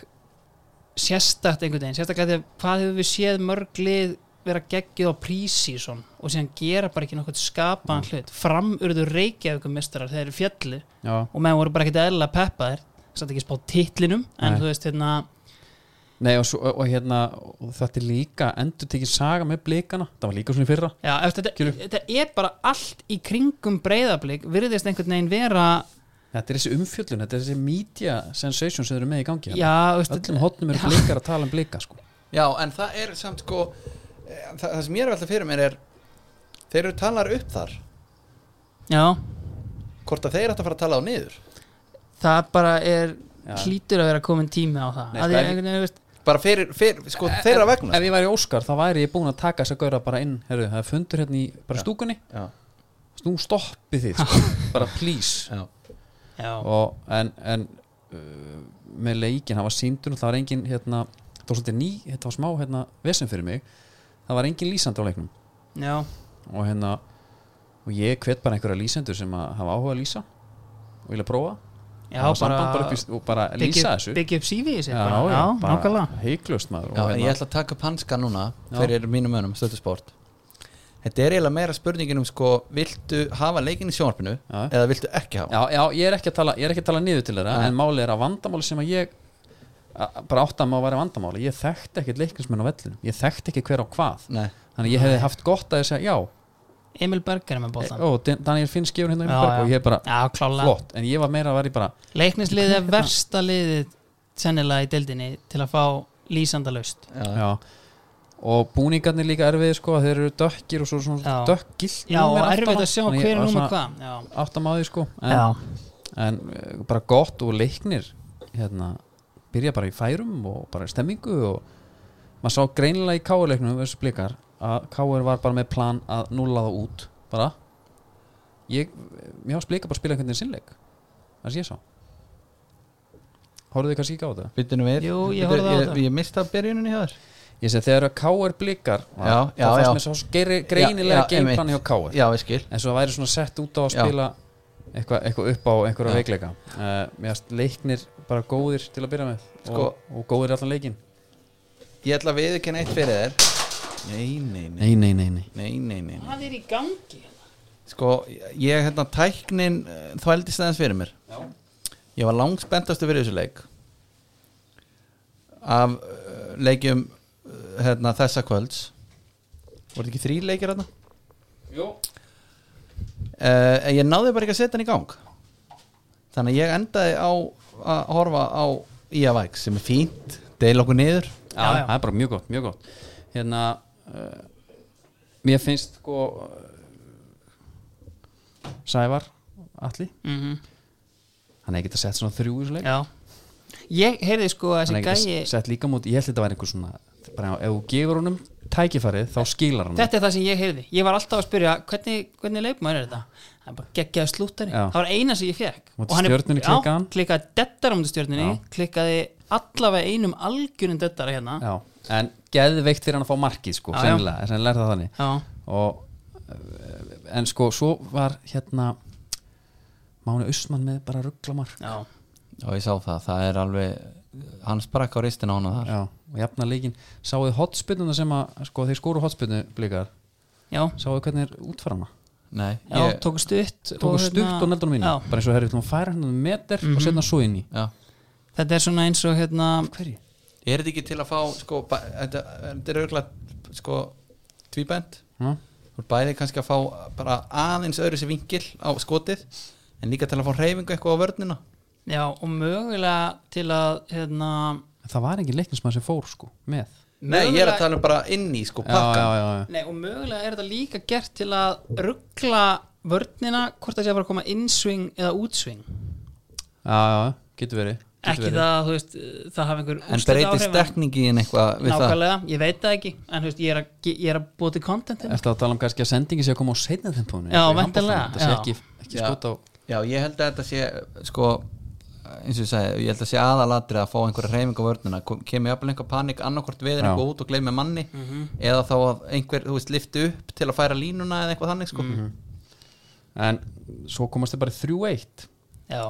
sérstakt einhvern veginn sérstaklega þegar hvað hefur við séð mörg lið vera geggið á prísíson og síðan gera bara ekki nokkuð Mm. skapaðan hlut framurðu reykjaðugum mistarar þegar þeir eru fjalli já, og menn voru bara ekkert eðla peppaðir satt ekki spá titlinum en Nei. þú veist hérna Nei og, svo, og, og hérna og þetta er líka endur tekið saga með blikana það var líka svona í fyrra já, eftir, þetta, Skilur. þetta er bara allt í kringum breyðablík virðist einhvern veginn vera þetta er þessi umfjöllun, þetta er þessi media sensation sem þeir eru með í gangi hérna. já, þú veist, öllum hotnum eru blikar að tala um blika sko. Já, en það er samt sko eh, það, það sem ég er alltaf fyrir mér er þeir eru talar upp þar já hvort að þeir ættu að fara að tala á niður það bara er Já. hlýtur að vera komin tími á það Nei, að sko, ég, ef- einhvern veginn, þú veist, bara fyrir, fyrir sko, Eh, þeirra vegna ef ég væri Óskar þá væri ég búin að taka þess að gauðra bara inn herru, það er fundur hérna í bara Já. stúkunni Já, nú stoppið þið sko. bara please já, já, og, en, en uh, með leikin, það var síndur það var engin hérna, það var svolítið ný þetta var smá hérna, vesen fyrir mig það var engin lýsandi á leiknum já, og hérna og ég hvet bara einhverja lýsendur sem að hafa áhuga að lýsa og vilja prófa já Hafa bara, samband bara upp í, og bara byggja- lýsa þessu byggja upp CV í sig Já, bara, já, já, bara nákvæmlega hiklaust maður já og en hérna- ég ætla að taka upp hanska núna Já. fyrir mínum önum, stöðtusport Þetta er eiginlega meira spurningin um sko viltu hafa leikin í sjónvarpinu Já. eða viltu ekki hafa já, já, ég er ekki að tala, ég er ekki að tala niður til þeirra Nei. en máli er að vandamáli sem að ég að- bara átt að maður væri vandamáli ég þekkti ekkert leiknismenn á vellinu ég þekkti ekki hver á hvað Nei, þannig að ég hefði haft gott að ég segja já Emil Berger er með bóttan ó, Dan- Daniel Finn skifur hérna Já, í Berg og já. ég er bara já, klála flott en ég var meira að vera í bara leiknisliðið er versta liðið sennilega í deildinni til að fá lýsanda laust já, já. já. og búningarnir líka erfiðir sko þeir eru dökkir og svo svona Já. dökkilt já, og erfitt að sjá hver er númer hvað já, áttamáði sko en, já, en eh, bara gott og leiknir hérna, byrja bara í færum og bara í stemmingu og maður sá greinilega í K-leiknum þessu blikar að K-er var bara með plan að nulla það út bara ég, mér hafði blika bara að spila einhvern veginn sinnleik það sem ég sá Hóruðu þið kannski ekki á þetta? Byttunum við Jú, ég Bíddu, horfði á ég, þetta. ég, mista byrjuninni hjá þér Ég segi þegar að K-er blikar Já, já, þá já. fannst mér svo geiri- greinilega Já, já, einmitt. geimplan hjá K-er Já, ég skil en svo það væri svona sett út á að Já. spila eitthvað eitthva upp á einhverja Já. veikleika uh, mér finnst leiknir bara góðir til að byrja með Sko- og, og góðir allan leikin Ég ætla að viðurkenna eitt fyrir þér Nei, nei, nei nei, nei, nei Nei, nei, nei, nei. hvað er í gangi Sko, ég hérna tæknin eh, þvældist aðeins fyrir mér Já. Ég var langspenntastu fyrir þessu leik Af eh, leikjum eh, hérna, þessa kvölds Voru ekki þrý leikir hérna? Jó. Uh, ég náði bara ekki að setja hann í gang Þannig að ég endaði á að horfa á IAVX sem er fínt, deil okkur niður Já, Já, já. það er bara mjög gott, mjög gott hérna uh, mér finnst sko uh, Sævar Alli, hann hefði getað sett svona þrjú í þessu leik Mhm, já ég heyrði sko að hann þessi hefði getað gæi sett líka móti, ég held þetta væri einhver svona bara ef þú gefur honum tækifærið þá skilar hann þetta er það sem ég heyrði ég var alltaf að spyrja hvernig, hvernig leikmaður er þetta það er bara geggjaði slúttari Já. það var eina sem ég fekk Móti Og hann er- Stjörnunni já, klikkaði hann. klikkaði dettar á múti stjörnunni klikkaði allavega einum algjörnum dettara hérna Já, en geðveikt fyrir hann að fá markið sko, Já, já. sennilega, sennilega er það þannig já, og, eh, en sko, svo var hérna Máni Usman með bara rugglamark já. Já, ég sá það, það er alveg hann sprakk á ristin á hana þar Já, og jafna leikin sáðu hotspinnuna sem að, sko, þeir skóru hotspinnu blikar, já. sáðu hvernig er útfarana Nei, Já, ég, tóku stutt tóku stutt og neldunum mínu, hérna- já. Mhm. bara eins og herri, við ætlum að færa hann um meter og setna svo inn í já. Þetta er svona eins og hérna Hverju? er þetta ekki til að fá sko, ba- þetta þetta er auðvitað sko, tvíbænt Já, þú er bæði kannski að fá bara aðeins öðru sér vingil á skotið en líka til að fá hreyfingu eitthvað á vörnina Já, og mögulega til að hérna en það var engin leiknismann sem fór, sko, með Nei, ég er mögulega- að tala um bara inn í sko, Já, já, pakkan já, já Nei, og mögulega er þetta líka gert til að ruggla vörnina hvort það sé að fara að koma inswing eða útswing Já, já, já, getur verið getur Ekki verið. það, að, þú veist, það hafi einhver en úrslitaáhrif, breytir stekningin eitthvað við það Nákvæmlega, ég veit það ekki En þú veist, ég er að, ég er að búa til content hérna. Ertu að tala um kannski að sendingi sé að koma á seinna tempónu? Í Já, handboltanum, væntanlega, Þetta sé já. ekki, ekki Já. skot á Já, ég held að þetta sé sko, eins og ég segi, ég held að sé aðalatri að fá einhverja hreyfingu á vörnina Kom- kemur jafnvel einhver panik annarkvort við en Já. eitthvað út og gleymi manni Mhm. eða þá að einhver, þú veist, lifti upp til að færa línuna eða eitthvað þannig sko. En svo komast þið bara í 3-1 Já,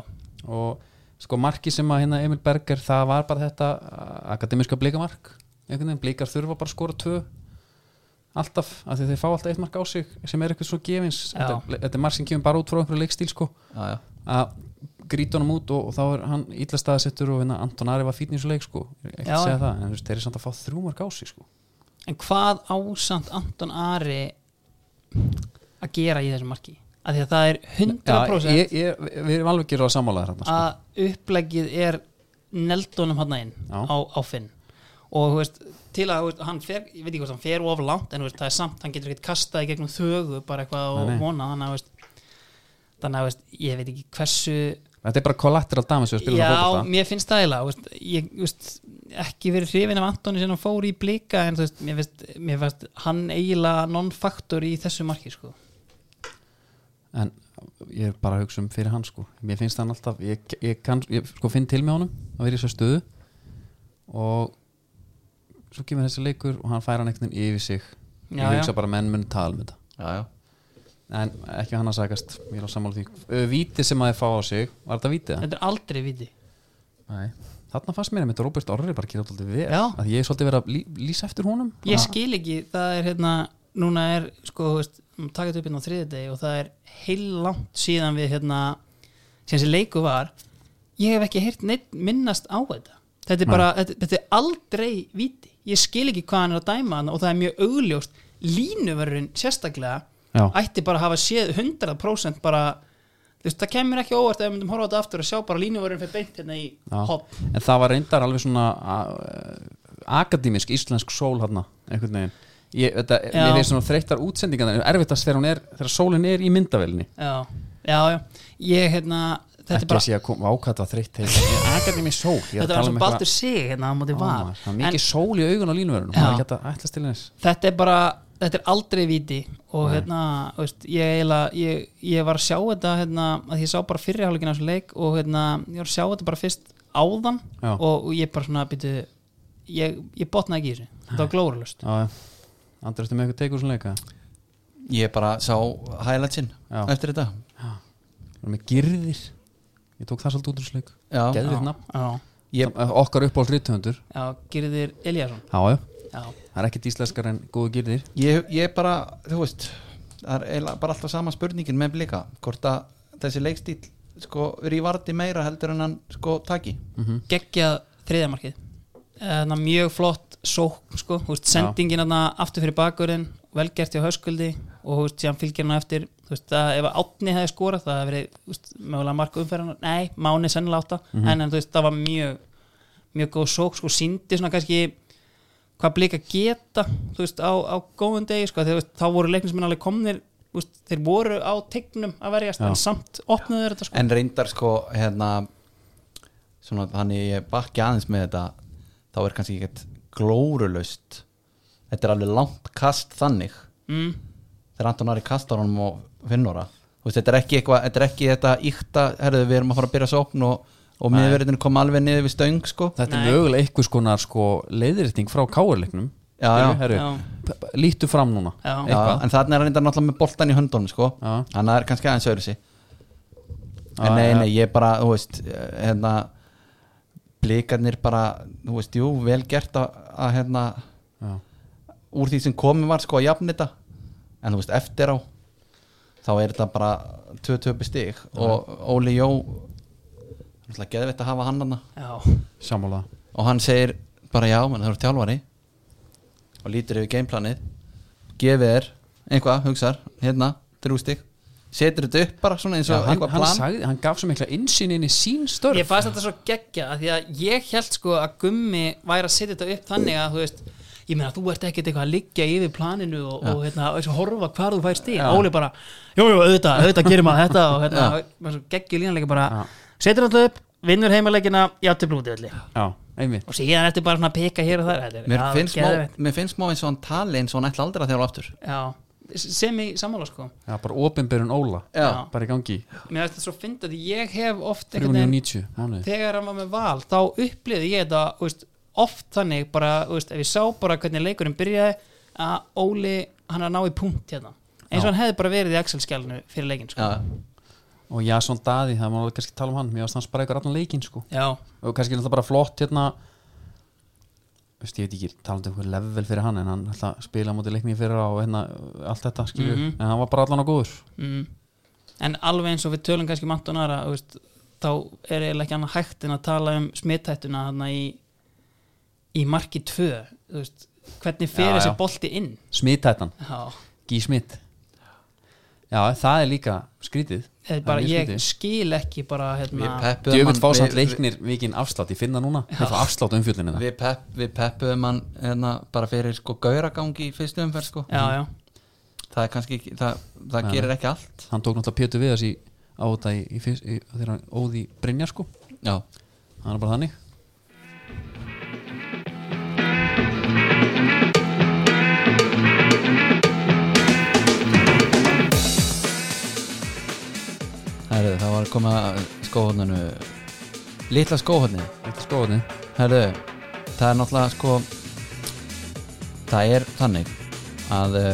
Og sko marki sem að hérna Emil Berger Það var bara þetta uh, akademiska blikamark Einhvern veginn, blikar þurfa bara að skora 2 Alltaf, af því þeir fá alltaf eitt mark á sig Sem er eitthvað svo gefins Já. Þetta, er- þetta er mark sem kemur bara út frá einhverju leikstíl sko já, já. Að grýta honum út og, og þá er hann illa staðsettur og hérna Anton Ari var fínn í þessu leik sko ekki Já. að segja það, en þú veist, þeir eru samt að fá þrjumar gási sko En hvað ásamt Anton Ari að gera í þessu marki? Af því að það er 100% ég, ég, við erum alveg gerað að sammála þér hérna sko. að upplegið er neldunum hann inn Já. á, á Finn og þú veist, til að þú veist, hann fer, ég veit ekki hvort hann fer of langt en þú veist, það er samt, hann getur ekkert kastað í gegnum þögu bara eitthvað Nei, og nei. vona þannig að, þú veist, þannig að þú veist, ég veit ekki hversu þetta er bara collateral damage við spilum já, fókbalta mér finnst það eiginlega þú veist, ég þú veist, ekki verið hrifin af Antoni sem hann fór í blika en þú veist, mér finnst, mér finnst hann eiginlega non-faktor í þessu marki sko. en ég er bara að hugsa um fyrir hann sko mér finnst hann alltaf, ég, ég, kann, ég sko finn til með honum að vera í þessu stöðu og svo kemur þessi leikur og hann fær hann einhvern veginn yfir sig Já, ég já. hugsa bara að menn mun tala um þetta já, já. en ekki hann að sagast, ég er á sammála því Ö, víti sem að þið fá á sig, var þetta vítið? þetta er aldrei viti Nei. Þarna fannst mér að mitt Robert Orri bara kýra alltaf vel Já. að ég er svolítið verið að lí, lýsa eftir honum ég skil ekki, það er hérna núna er sko, þú veist, takit upp hérna á þriðidegi og það er heil langt síðan við hérna, síðan sem leiku var ég hef ekki heyrt neitt minnast á þetta þetta er bara, þetta, þetta er aldrei viti, ég skil ekki hvað hann er að dæma hann og það er mjög augljóst línuverurinn sérstaklega Já. ætti bara að hafa séð 100% bara, þú veist, það kemur ekki á óvart ef við myndum horfa á þetta aftur að sjá bara línuverurinn fyrir beint hérna í Já. hopp en það var reyndar alveg svona a- akademisk íslensk sól hann einhvern veginn ég, þetta, Já. mér finnst svona þreyttar útsendingar erfittast þegar hún er, þegar sólin er í myndavelni já, já, já, ég hérna þetta er ekki bara að sé að koma ákvæða þreytt heim akademisk sól, ég er að þetta var tala um eins og eitthvað Baldur sig hérna á móti var Ómar, það var mikið sól í augun á línverðunum Já. það er ekki hægt að ætla til þess þetta er bara, þetta er aldrei viti og hérna, þú veist, ég eiginlega ég, ég var að sjá þetta hérna að ég sá bara fyrirháleikina á þessu leik og hérna, ég var að sjá þetta bara fyrst áðan Já. og, og ég bara svona, býtu ég, ég botnaði ekki í þessu, þetta var glóralust Já, já. Andri, ertu með eitthvað teikur svona leika? ég bara sá highlightsinn Já. eftir þetta Við erum með girðir Ég tók það svolítið út úr sleik Já. Geðvitt nafn já, Ég- Okkar uppáhald rithöfundur já, Gyrðir Eliasson Já, já já, Það er ekkit íslenskar en góðu girðir ég, ég bara, þú veist það er eiginlega bara alltaf sama spurningin með blika hvort að þessi leikstíl sko, rývardi meira heldur en hann sko taki Mhm. geggjað þriðamarkið þannig að mjög flott sók sko, þú veist, sendingin þarna aftur fyrir bakurinn velgert hjá höskuldi og þú veist, síðan fylgir hann á eftir þú veist, að ef átni hefði skorað það hefði verið þú veist, mögulega marka umferðan nei, máni sennilega átta en, en þú veist, það var mjög mjög góð sók, sko, síndi svona kannski hvað blika geta þú veist, á, á góðum degi sko, þegar, þú veist, þá voru leiknismenn alveg komnir þú veist, þeir voru á tegnum að verjast Já. en samt opnuðu þeir þetta sko. en reyndar sko hérna svona þannig ég bakki aðeins með þetta þá er kannski ekkert glórulaust þetta er alveg langt kast þannig mm, þegar Anton Ari kastar honum og finnora þú veist, þetta er ekki eitthvað, þetta er ekki þetta íkta, herðu við erum að fara að byrja sókn og, og miðverðinu kom alveg niður við stöng sko, Þetta Nei. er mögulega einhvers konar sko leiðirting frá káurleiknum Já, já. Já. Lítu fram núna Já. já, Eitthvað. en þarna er hann reyndar náttúrulega með boltan í höndunum sko, Já. þannig að það er kannski aðeins öðru sig Já, en nei, já. nei, ég bara, þú veist hérna, blikarnir bara, þú veist, jú, vel gert að, að hérna, Já. úr því sem komið var sko að jafn þetta en þú veist eftir á þá er þetta bara tvö töpi stig og Óli Jó náttúrulega geðveitt að hafa hann hann já. Sammála og hann segir bara já, menn það eru tjálfari og lítur yfir gameplanið gefið er, einhvað, hugsar hérna, þrjú stig setur þetta upp bara svona eins Já, og hann, einhvað hann, plan sagði, hann gaf svo mikla insýn inn í sín störf Ég fannst þetta svo geggja af því að ég held sko að gummi væri að setja þetta upp þannig að þú veist ég meina þú ert ekkert eitthvað að liggja yfir planinu og, og hérna, og svo horfa hvar þú fær stíð Óli bara, jú, jú, auðvitað, auðvitað gerir maður þetta og hérna, maður svo geggju línuleika bara Já. setur þetta upp, vinnur heimaleikina játtu blúti öllu Já, einmitt og síðan ertu bara svona að peka hér og þar þetta er- mér, já, finnst má, geðveikt. mér finnst má eins og hann tali eins og hann ætla aldrei að þjálfa aftur Já, sem í sammála sko Já, bara opinberun Óla Já. Bara í gangi Mér finnst þetta svo fyndið að ég hef oft einhvern veginn- 390 mánuði þegar hann var með val þá upplýði ég þetta þú veist, oft þannig bara þú veist, ef ég sá bara hvernig leikurinn byrjaði að Óli hann er að ná í punkt hérna eins og hann hefði bara verið í Axel-skjálinu fyrir leikin sko. já, Og Jason Daði, það má alveg kannski tala um hann Mér varst hans bara eitthvað allan leikinn sko já, og kannski náttúrulega bara flott hérna veist, ég veit ekki, talandi um eitthvað level fyrir hann en hann alltaf spila á móti leikni fyrir á hérna, allt þetta, Mhm. skilju, en hann var bara allan á góður mm. en alveg eins og við tölum kannski mantunar að um þú veist, þá er eiginlega ekki annað hægt en að tala um smittættuna þarna í, í marki 2 þú veist, hvernig fer Já, þessi já. bolti inn smithættan, já, gísmitt já, það er líka skrítið eða Það er bara mjög ég skrítið. skil ekki bara hérna, djöfitt fásamt við, leiknir mikinn afslátt, ég finna núna ég fá afslátt um fjöllinu það við, pep, við peppuðum hann hérna, bara fyrir sko gauragangi í fyrstu umferð sko. já, já, það er kannski ekki, það, það Nei, gerir ekki allt hann tók náttúrulega Pétur Viðars í á þetta í, í, fyrst- í, þegar hann óði Brynjar sko, já, hann er bara þannig herru, það var komið að skóhóðninu litla skóhóðninu Þetta skoðinni herru, það er náttúrulega sko það er þannig að eh,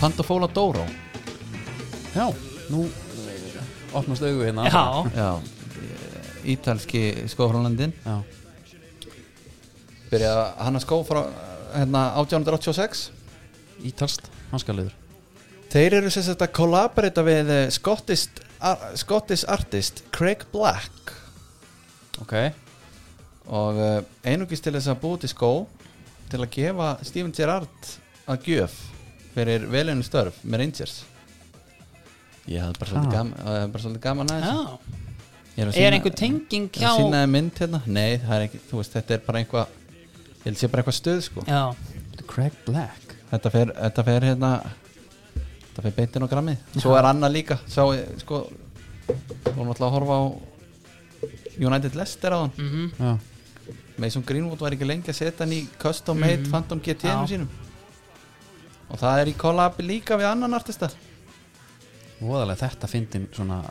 Pantofóla Dóró Já, nú opnast augu hérna já. já, eh, ítalski skóhóðlandin Já, byrja að hanna skó frá hérna 1886 ítalst hanskaliður Þeir eru sem sagt að kollaborita við eh, Scottish, ar, Scottish artist Craig Black Ok og eh, einungis til þess að búið til skó til að gefa Steven Gerrard að gjöf fyrir velunni störf með Rangers Ég hafði bara svolítið Ha. gaman, hafði bara svolítið gaman að Já. þessu Ah. er einhver tenging hjá hjá Sýnaði mynd hérna? Nei, það er ekki, þú veist, þetta er bara einhvað Ég held sé bara eitthvað stuð sko já, Craig Black Þetta fer, þetta fer hérna Þetta fer beintin og grammið Svo er annað líka Sá, sko Þú erum alltaf að horfa á United Leicester á hann mm Já, Mason Greenwood var ekki lengi að setja hann í Custom Made Phantom GT-num Mhm. Já. sínum Og það er í kollabi líka við annan artista voðalega þetta fyndin svona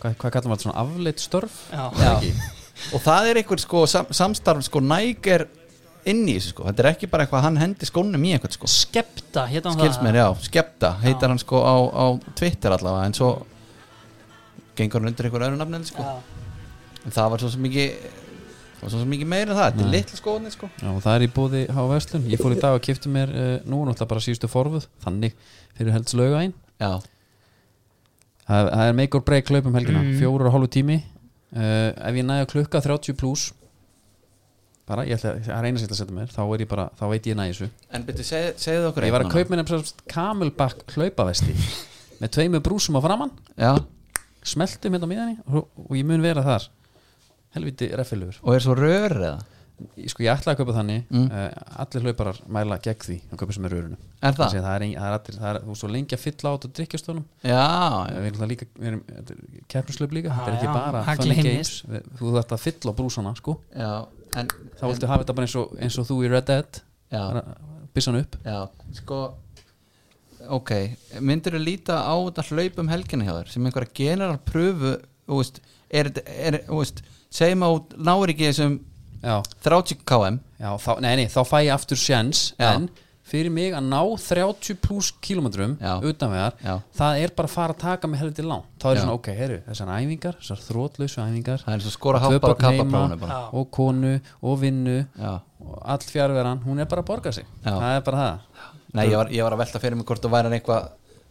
Hvað, hvað kallum við þetta svona afleitt störf? já, Já. Og það er einhver sko sam, samstarf sko Nike er inn í þessu sko Þetta er ekki bara eitthvað að hann hendi skónum í einhvern sko skepta hérna skils mér, já, Skepta heitar Já. hann sko á, á Twitter allavega en svo gengur hann undir einhver öðru nafni sko. já, en það var svo sem ekki það var svo sem ekki meira en það, þetta er Nei. litla skóðni sko. Já, og það er í bóði H. Vestlun Ég fór í dag og kipti mér uh, nú náttúrulega bara síðustu forfuð Þannig fyrir helds lauga einn já, það, það er make or break hlaup um helgina Mm. Fjórar og hálfu tími uh, Ef ég næja klukka 30 plus Bara, ég ætla, það er eina sem ég ætla að setja mér Þá, er ég bara, þá veit ég næja þessu en betur seg, segðu okkur Ég var að eitt kaupa mér nefnst kamelbakk hlaupavesti með tveimu brúsum á framann núna. já, smeltum hérna á miðanni og, og ég mun vera þar helviti reffilegur og er svo rör eða ég, sko, ég ætlaði að kaupa þannig Mm. uh, allir hlauparar mæla gegn því að kaupa sem er rörunum er það? Þannig að það er, ein, það er, allir, það er þú veist, svo lengi að fylla át og drikkjastónum já, við erum það líka við erum, þetta er keppnislaup líka, þetta er Já, ekki bara það funny gleymist. games. Við- þú þarft að fylla á brúsana sko. já en, þá viltu hafa þetta bara eins og, eins og þú í Red Dead já, byssan upp já, sko ok, myndirðu líta á þetta hlaup um helgina hjá þér sem einhverja general pröfu þú veist, er, þetta- er, þú veist, segjum að þú náir ekki þessum já, 30 km já þá, nei, nei, þá fæ ég aftur sjens Já. en fyrir mig að ná 30 pluss kilometrum Já. utanvegar já, það er bara að fara að taka mig heldur langt þá er Já. svona, ok, heyrðu, þessar æfingar þessar þrótlausu æfingar það er eins og skora Tvö hoppa og börn kappa heima. prófunu bara já. og konu og vinnu já. og all fjárveran, hún er bara að borga sig Já. það er bara það Nei, ég var, ég var að velta fyrir mig hvort þú væri eitthvað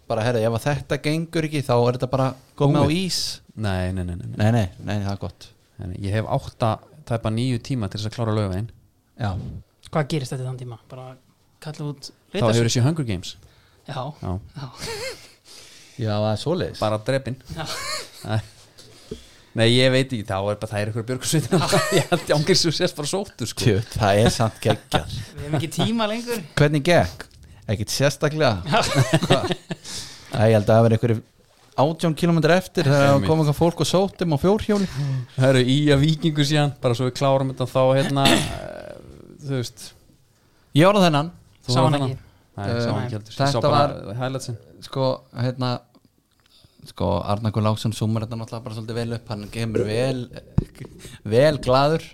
bara, herra, ef að þetta gengur ekki þá er þetta bara komið á ís nei, nei, nei, nei, nei. Nei, nei, nei, það er gott Nei, ég hef átta, tæpa nýju tíma til þess að klára lögvegin Já, hvað gerist þetta í þann tíma bara kalla út þá hefur þessi Hunger Games já, Já. já, já það er svoleiðis bara drepin Já. Nei. nei, ég veit ekki, þá er bara það er ykkur björgursveit ég held ég ángir svo sérst bara sóttur sko. Tjöt, það er samt geggjar við hefum ekki tíma lengur Hvernig gekk? Ekkert sérstaklega Hvað? Nei, ég held að það verið einhverju 18 km eftir þegar það Einmitt. kom eitthvað fólk og sóttum á fjórhjóli Það eru í að vikingu síðan bara svo við klárum þetta þá hérna eh, þú veist Ég var á þennan, þú sá horfðir hann á ekki Nei, Eh, sá hann nei. ekki heldur, Þetta ég sá bara var- highlightsin sko, hérna sko, Arnakur Láksson súmar þetta náttúrulega bara svolítið vel upp hann kemur vel vel glaður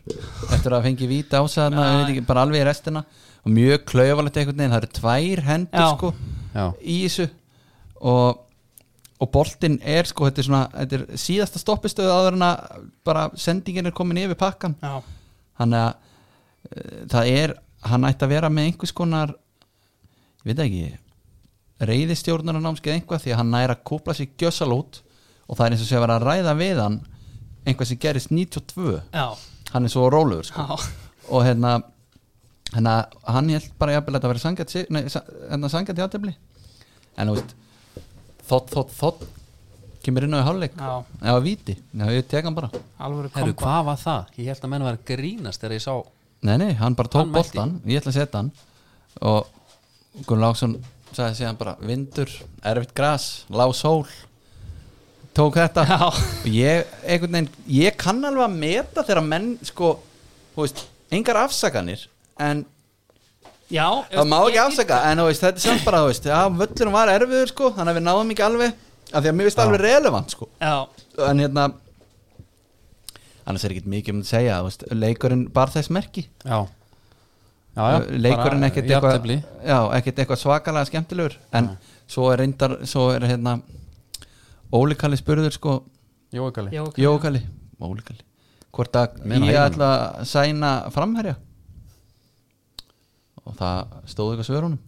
eftir að fengi víta á sig þarna, Já. ég veit ekki, bara alveg í restina og mjög klaufalegt einhvern veginn, það eru tvær hendur Já. sko, Já, í þessu og, og boltinn er sko, þetta er svona, þetta er síðasta stoppistöð áður en að bara sendingin er komin yfir pakkan já, þannig að eh, það er, hann ætti að vera með einhvers konar ég veit ekki reyðistjórnarnámskeið eitthvað því að hann næra kúpla sér gjössalút og það er eins og sé að vera að ræða við hann einhvað sem gerist 92 já, hann er svo rólegur sko. já, og hérna, hérna hann held bara jafnvel að þetta verið sangjart sig- nei, sa- hérna sangjart í aðtefli en þú veist þótt, þótt, þótt kemur inn á í hálfleik já eða víti, já ég tek hann bara alvöru Herru, kompa hvað var það? Ég held að menn var að grínast þegar ég sá nei, nei, hann bara tók Hann mælti. boltan, ég ætla að setja hann og Gunn Láksson sagði síðan bara vindur, erfitt gras, lág sól tók þetta Já. og ég, einhvern veginn ég kann alveg að meta þegar menn sko, þú veist, engar afsakanir en já, það má ekki afsaka en þú veist, þetta er samt bara, þú veist, já, völlurinn var erfiður sko, þannig að við náðum ekki alveg af því að mér finnst það alveg relevant sko já, en hérna annars er ekkert mikið um að segja, þú veist, leikurinn bar þess merki Já, já, já Eh, leikurinn bara ekkert jafntefli. eitthvað, já, ekkert eitthvað svakalega skemmtilegur en svo er reyndar, svo er hérna Óli Kalli spurður sko Jókali já, Jó Kalli, Óli Kalli hvort að Meina ég heimann. ætla að sæna framherja og það stóð eitthvað svörunum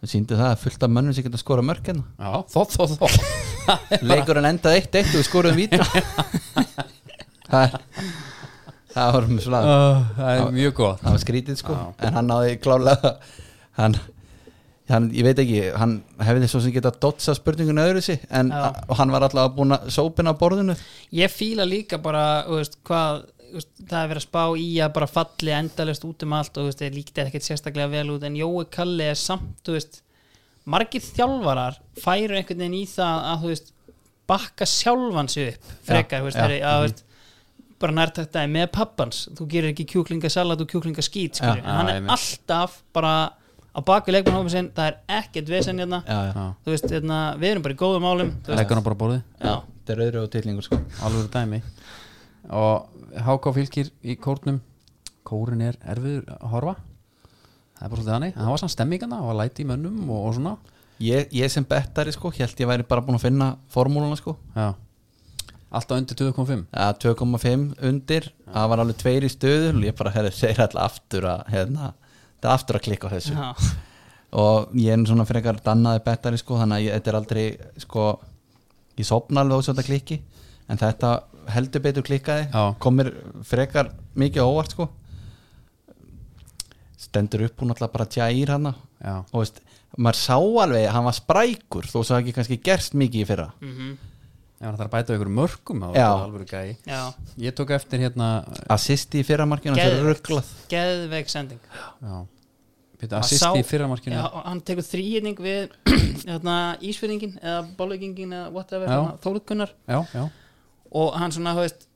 það síndi það að fullt af mönnum sem geta skora mörk hérna Já, þótt, þótt, þótt leikurinn endaði eitt eitt og við skoruðum víta það er það var mjög slag Ah, Það er mjög gott það var skrítið sko Já. en hann náði klálega hann, hann, ég veit ekki, hann hefði svo sem geta dotsa spurningun öðru sig en Já. og hann var allavega búin að sópina á borðinu ég fíla líka bara þú veist, hvað, þú veist, það er verið að spá í að bara falli endalist út um allt og þú veist, þeir líkti ekkert sérstaklega vel út en Jói Kalli er samt þú veist, margir þjálfarar færu einhvern veginn í það að þú veist, bakka sjálfan sig upp frekar, þú veist, já, Mhm. þeir, að, þú veist bara nærtæktaði með pappans þú gerir ekki kjúklingasalat og kjúklingaskít Já, skilur. já, hann er einmitt. alltaf bara á baku leikmannhófum sinn, það er ekkert vesen hérna, já, já. Já. þú veist, hérna, við erum bara í góðum málum þú veist, Leggur hann bara á borðið já, þetta er öðru og tilningur sko alveg dæmi og HK fylgir í kórnum kórin er erfiður að horfa það er bara svolítið þannig en það var samt stemmingana, það var læti í mönnum og, og svona ég, ég sem bettari sko, held ég væri bara búin að finna formúluna sko já alltaf undir 2.5 að 2,5 undir það var alveg tveir í stöðu og ég bara hefði segir alltaf aftur að hérna, þetta er aftur að klikka á þessu já, og ég er nú svona frekar dannaði bettari sko þannig að ég, þetta er aldrei sko ég sopna alveg á svo þetta klikki en þetta heldur betur klikkaði Já. komir frekar mikið á óvart sko stendur upp hún alltaf bara tja ír hana já, og veist, maður sá alveg að hann var sprækur þó svo ekki kannski gerst mikið í fyrra Mhm. ef hann þarf að bæta ykkur mörgum þá er Já. það alveg gæi já ég tók eftir hérna assisti í fyrra markinu þetta er Geðveikt. rugglað geðveik sending já, Pétur, Maður assist sá- í fyrramarkinu já, já. og hann tekur þrýinning við hérna, ísfyrringin eða bollugingin eða whatever, Já. hérna, þólukunnar já, já, og hann svona, þú veist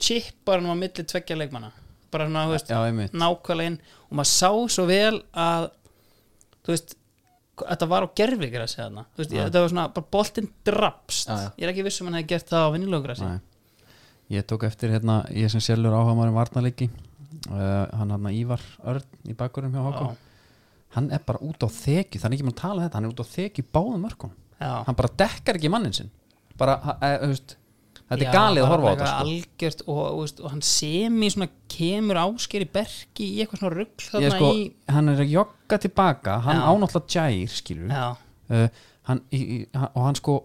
chippar hann á milli tveggja leikmanna bara svona, þú veist, já, einmitt nákvæmlega inn og maður sá svo vel að þú veist, þetta var á gerfigrassi þarna, þú veist, Já. þetta var svona bara boltinn drapst, Já, já. ég er ekki viss um hann hefði gert það á vinnilöggrassi, Nei. ég tók eftir hérna ég sem sjálfur áhagamarum varnarleiki uh, hann hann Ívar Örn í bakkurum hjá HK Já. hann er bara út á þekju, það er ekki mann að tala um þetta hann er út á þekju í báðum mörgum já, hann bara dekkar ekki mannin sinn bara, ha- e, þú veist þetta Já, er galið að bara horfa á eitthvað þetta sko. algjört og, og, veist, og hann semi svona kemur ásker í berki í eitthvað svona rugl Ég, þarna sko í hann er að jogga tilbaka hann Já. ánáttúrulega Jair skilur Já, uh, hann, í, í, hann, og hann sko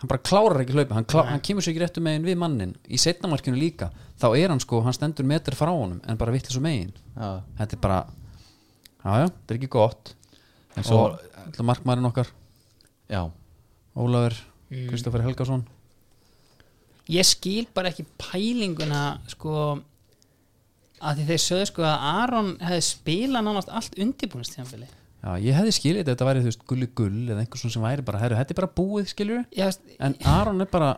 hann bara klárar ekki hlaupa, hann, klá, hann kemur sér ekki réttu megin við mannin, í setnamarkinu líka þá er hann sko, hann stendur metri frá honum en bara vittlis og megin, Já. þetta er bara jájá, þetta er ekki gott en svo, og ætla markmaðurinn okkar já Ólafur, Mm. Kristoffer Helgason ég skil bara ekki pælinguna sko að því þeir sögðu sko að Aron hefði spilað nánast allt undirbúinist tímanbili Já, ég hefði skilið þetta, þetta væri þú veist gulli gull eða einhver svona sem væri bara, herru, þetta er bara búið skilur Já, veist, en Aron er bara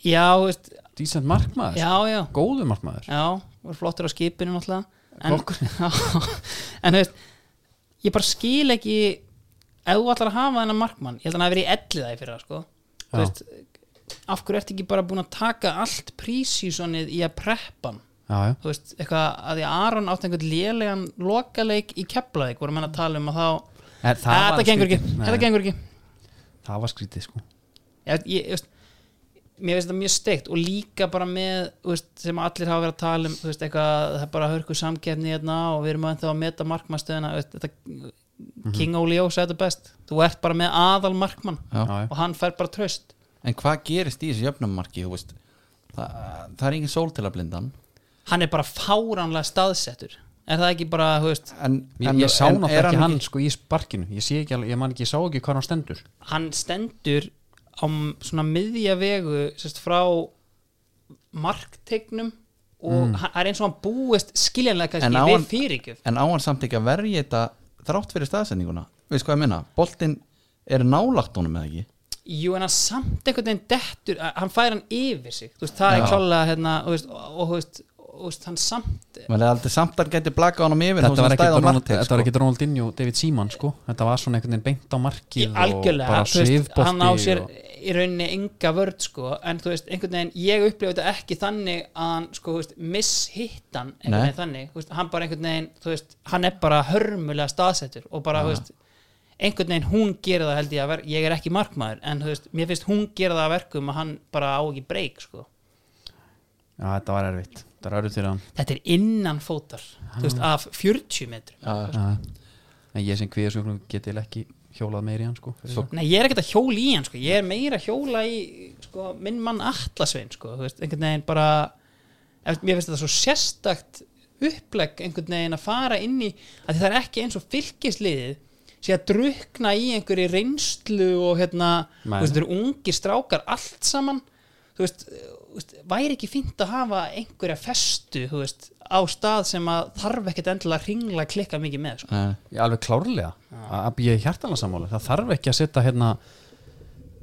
já, veist, decent markmaður, já, já góðu markmaður Já, var flottur á skipinu náttúrulega Flokkur. en, já, en þú veist ég bara skil ekki ef þú ætlar að hafa þennan markmann ég held að hann hafi verið í elliða í fyrra sko Þú Já. veist, af hverju ertu ekki bara búin að taka allt prísísonið í að preppa hann Já, já, þú veist, eitthvað að því að Aron átti einhvern lélegan lokaleik í Keflavík voru menn að tala um að þá en, "Ah, var þetta gengur skrítið. ekki, Nei, þetta gengur ekki Það var skrítið sko ég, ég, ég veist mér finnst þetta mjög steikt og líka bara með þú veist, sem allir hafa verið að tala um þú veist, eitthvað, það er bara hörku samkeppni hérna og við erum ennþá að meta markmannstöðina þú veist, þetta, Mhm. King Óli Jós er þetta best þú ert bara með aðal markmann Já, já. og hann fær bara tröst en hvað gerist í þessu jöfnumarki þú veist það, það er engin sól til að blinda hann hann er bara fáránlega staðsettur er það ekki bara, þú veist en, Ég, en, ég sá en er náttúrulega ekki hann ekki- sko í sparkinu Ég sé ekki alveg, ég man ekki, ég sá ekki hvað hann stendur hann stendur á m- svona miðja vegu sérst, frá marktegnum og mm. hann er eins og hann búist skiljanlega En kannski á við hann- fyrirgjöf en á hann samt ekki að verja þetta þrátt fyrir staðsendinguna veist hvað ég minna, boltinn er nálagt honum eða ekki Jú, en hann samt einhvern veginn dettur að- hann fær hann yfir sig, þú veist, það Já. er klálega hérna, og, þú veist, og, og, þú veist, og þú veist, hann samt maður er aldrei samt að hann gæti blaka honum yfir Þetta þó sem var hann ekki stæði á Ronald, markið, sko. þetta var ekki Ronaldinho og David Seaman sko Þetta var svona einhvern veginn beint á í markið og algjörlega, bara þú veist, hann á svifbótti sér í rauninni enga vörð, sko en þú veist, einhvern veginn, ég upplifa þetta ekki þannig að hann, sko, þú veist, mishittan einhvern Nei. veginn þannig, þú veist, hann bara einhvern veginn þú veist, hann er bara hörmulega staðsettur og bara, þú veist, einhvern veginn hún gera það held ég að verk, ég er ekki markmaður en þú veist, mér finnst hún gera það að verkum að hann bara á ekki breyk, sko Já, þetta var erfitt Þetta var erfitt fyrir hann þetta er innan fótar þú veist, af 40 metrum Já, Já. En ég sem kvíðasjóknum geti eiginlega ekki hjólað meir í hann sko fyrir Svo- það. Nei, ég er ekkert að hjóla í hann sko. ég er meira að hjóla í sko, minn mann Atlasvein sko. þú veist, einhvern veginn bara ef- mér finnst þetta svo sérstakt upplegg einhvern veginn að fara inn í að það er ekki eins og fylkisliðið sé að drukna í einhverju reynslu og hérna, þú Nei. veist, þetta eru ungir strákar allt saman þú veist, eh, þú veist, væri ekki fínt að hafa einhverja festu, þú veist á stað sem að þarf ekkert endilega að ringla klikka mikið með, sko. Nei. Já, alveg klárlega að að ég er hjartalega sammála það þarf ekki að setja hérna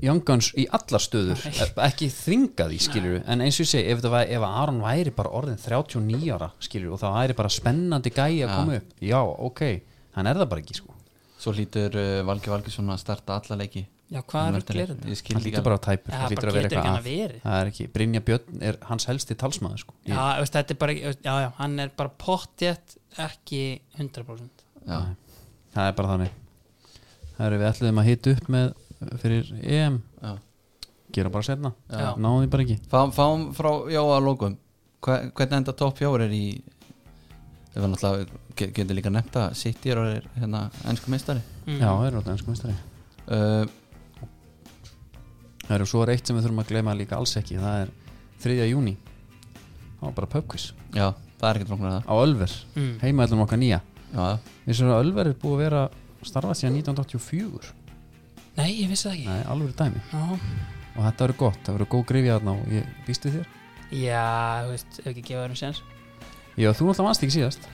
Young Guns í allar stöður ekki þvinga því skilur en eins og ég segi, ef, það væri, ef Aron væri bara orðin 39 ára skilur og það væri bara spennandi gæi að Já. koma upp já, ok, hann er það bara ekki sko svo lítur uh, Valgi Valgisson að starta alla leiki Já, hvað Hann rugl er þetta? ég skil hann ekki lítur bara á tæpur Já, það hlýtur bara að getur vera ekki eitthvað annað verið. að- það er ekki, Brynja Björn er hans helsti talsmaður sko Já, þú veist, þetta er bara, já, já, hann er bara pottjætt ekki 100% Já. það er bara þannig það eru við ætluðum að hita upp með fyrir EM, Já. gera bara setna Já. náðum því bara ekki Fá, fáum frá Jóa að lókum Hva, hvernig enda topp fjórir í ef hann alltaf getur líka nefnt að City er orðið hérna ennsku meistari Mm. já, það er rátt ennsku mistari uh, Það eru svo er eitt sem við þurfum að gleyma líka alls ekki Það er 3. júni Það var bara pubquiz já, það er ekkert rungnar Á Ölver, Mm. heimaðlum okkar nýja það já, Við sem að Ölver er búið að vera starfað síðan 1984 Nei, ég vissi það ekki Nei, alveg dæmi Já, Og þetta verður gott, það verður góð grifja þarna og ég býst við þér já þú veist, ef ekki gefa þeim séns Já, þú náttúrulega vannst ekki síðast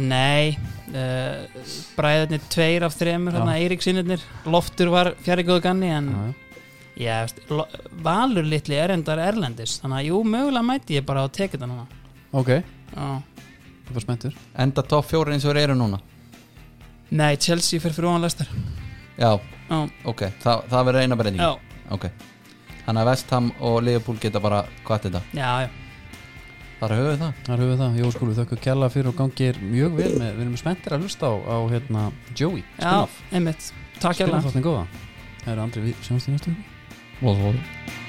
Nei, uh, bræðarnir tveir af þremur, Já. hann að Eiríksinirnir Loftur var fjarrigóðu ganni en, Já, já. já, þú veist, lo- Valur litli er endar erlendis þannig að, jú, mögulega mæti ég bara á tekið það núna Ok, Já þú var spenntur enda topp fjórir eins og þeir eru núna Nei, Chelsea fyrir fyrir óanlæstar já, Já, ok, Þa, það verður eina breyning já, ok, þannig að Vestham og Liverpool geta bara hvað þetta, já, já. þar höfum við það Þar höfum við það, Jó skúlu, þökkum kjalla fyrir og gangir mjög vel með, Við erum spenntir að hlusta á, á hérna, Joey já einmitt Takk Spilum hérlega þáttin góða Það eru andri, við sjáumst í næstu viku. Lóðvóð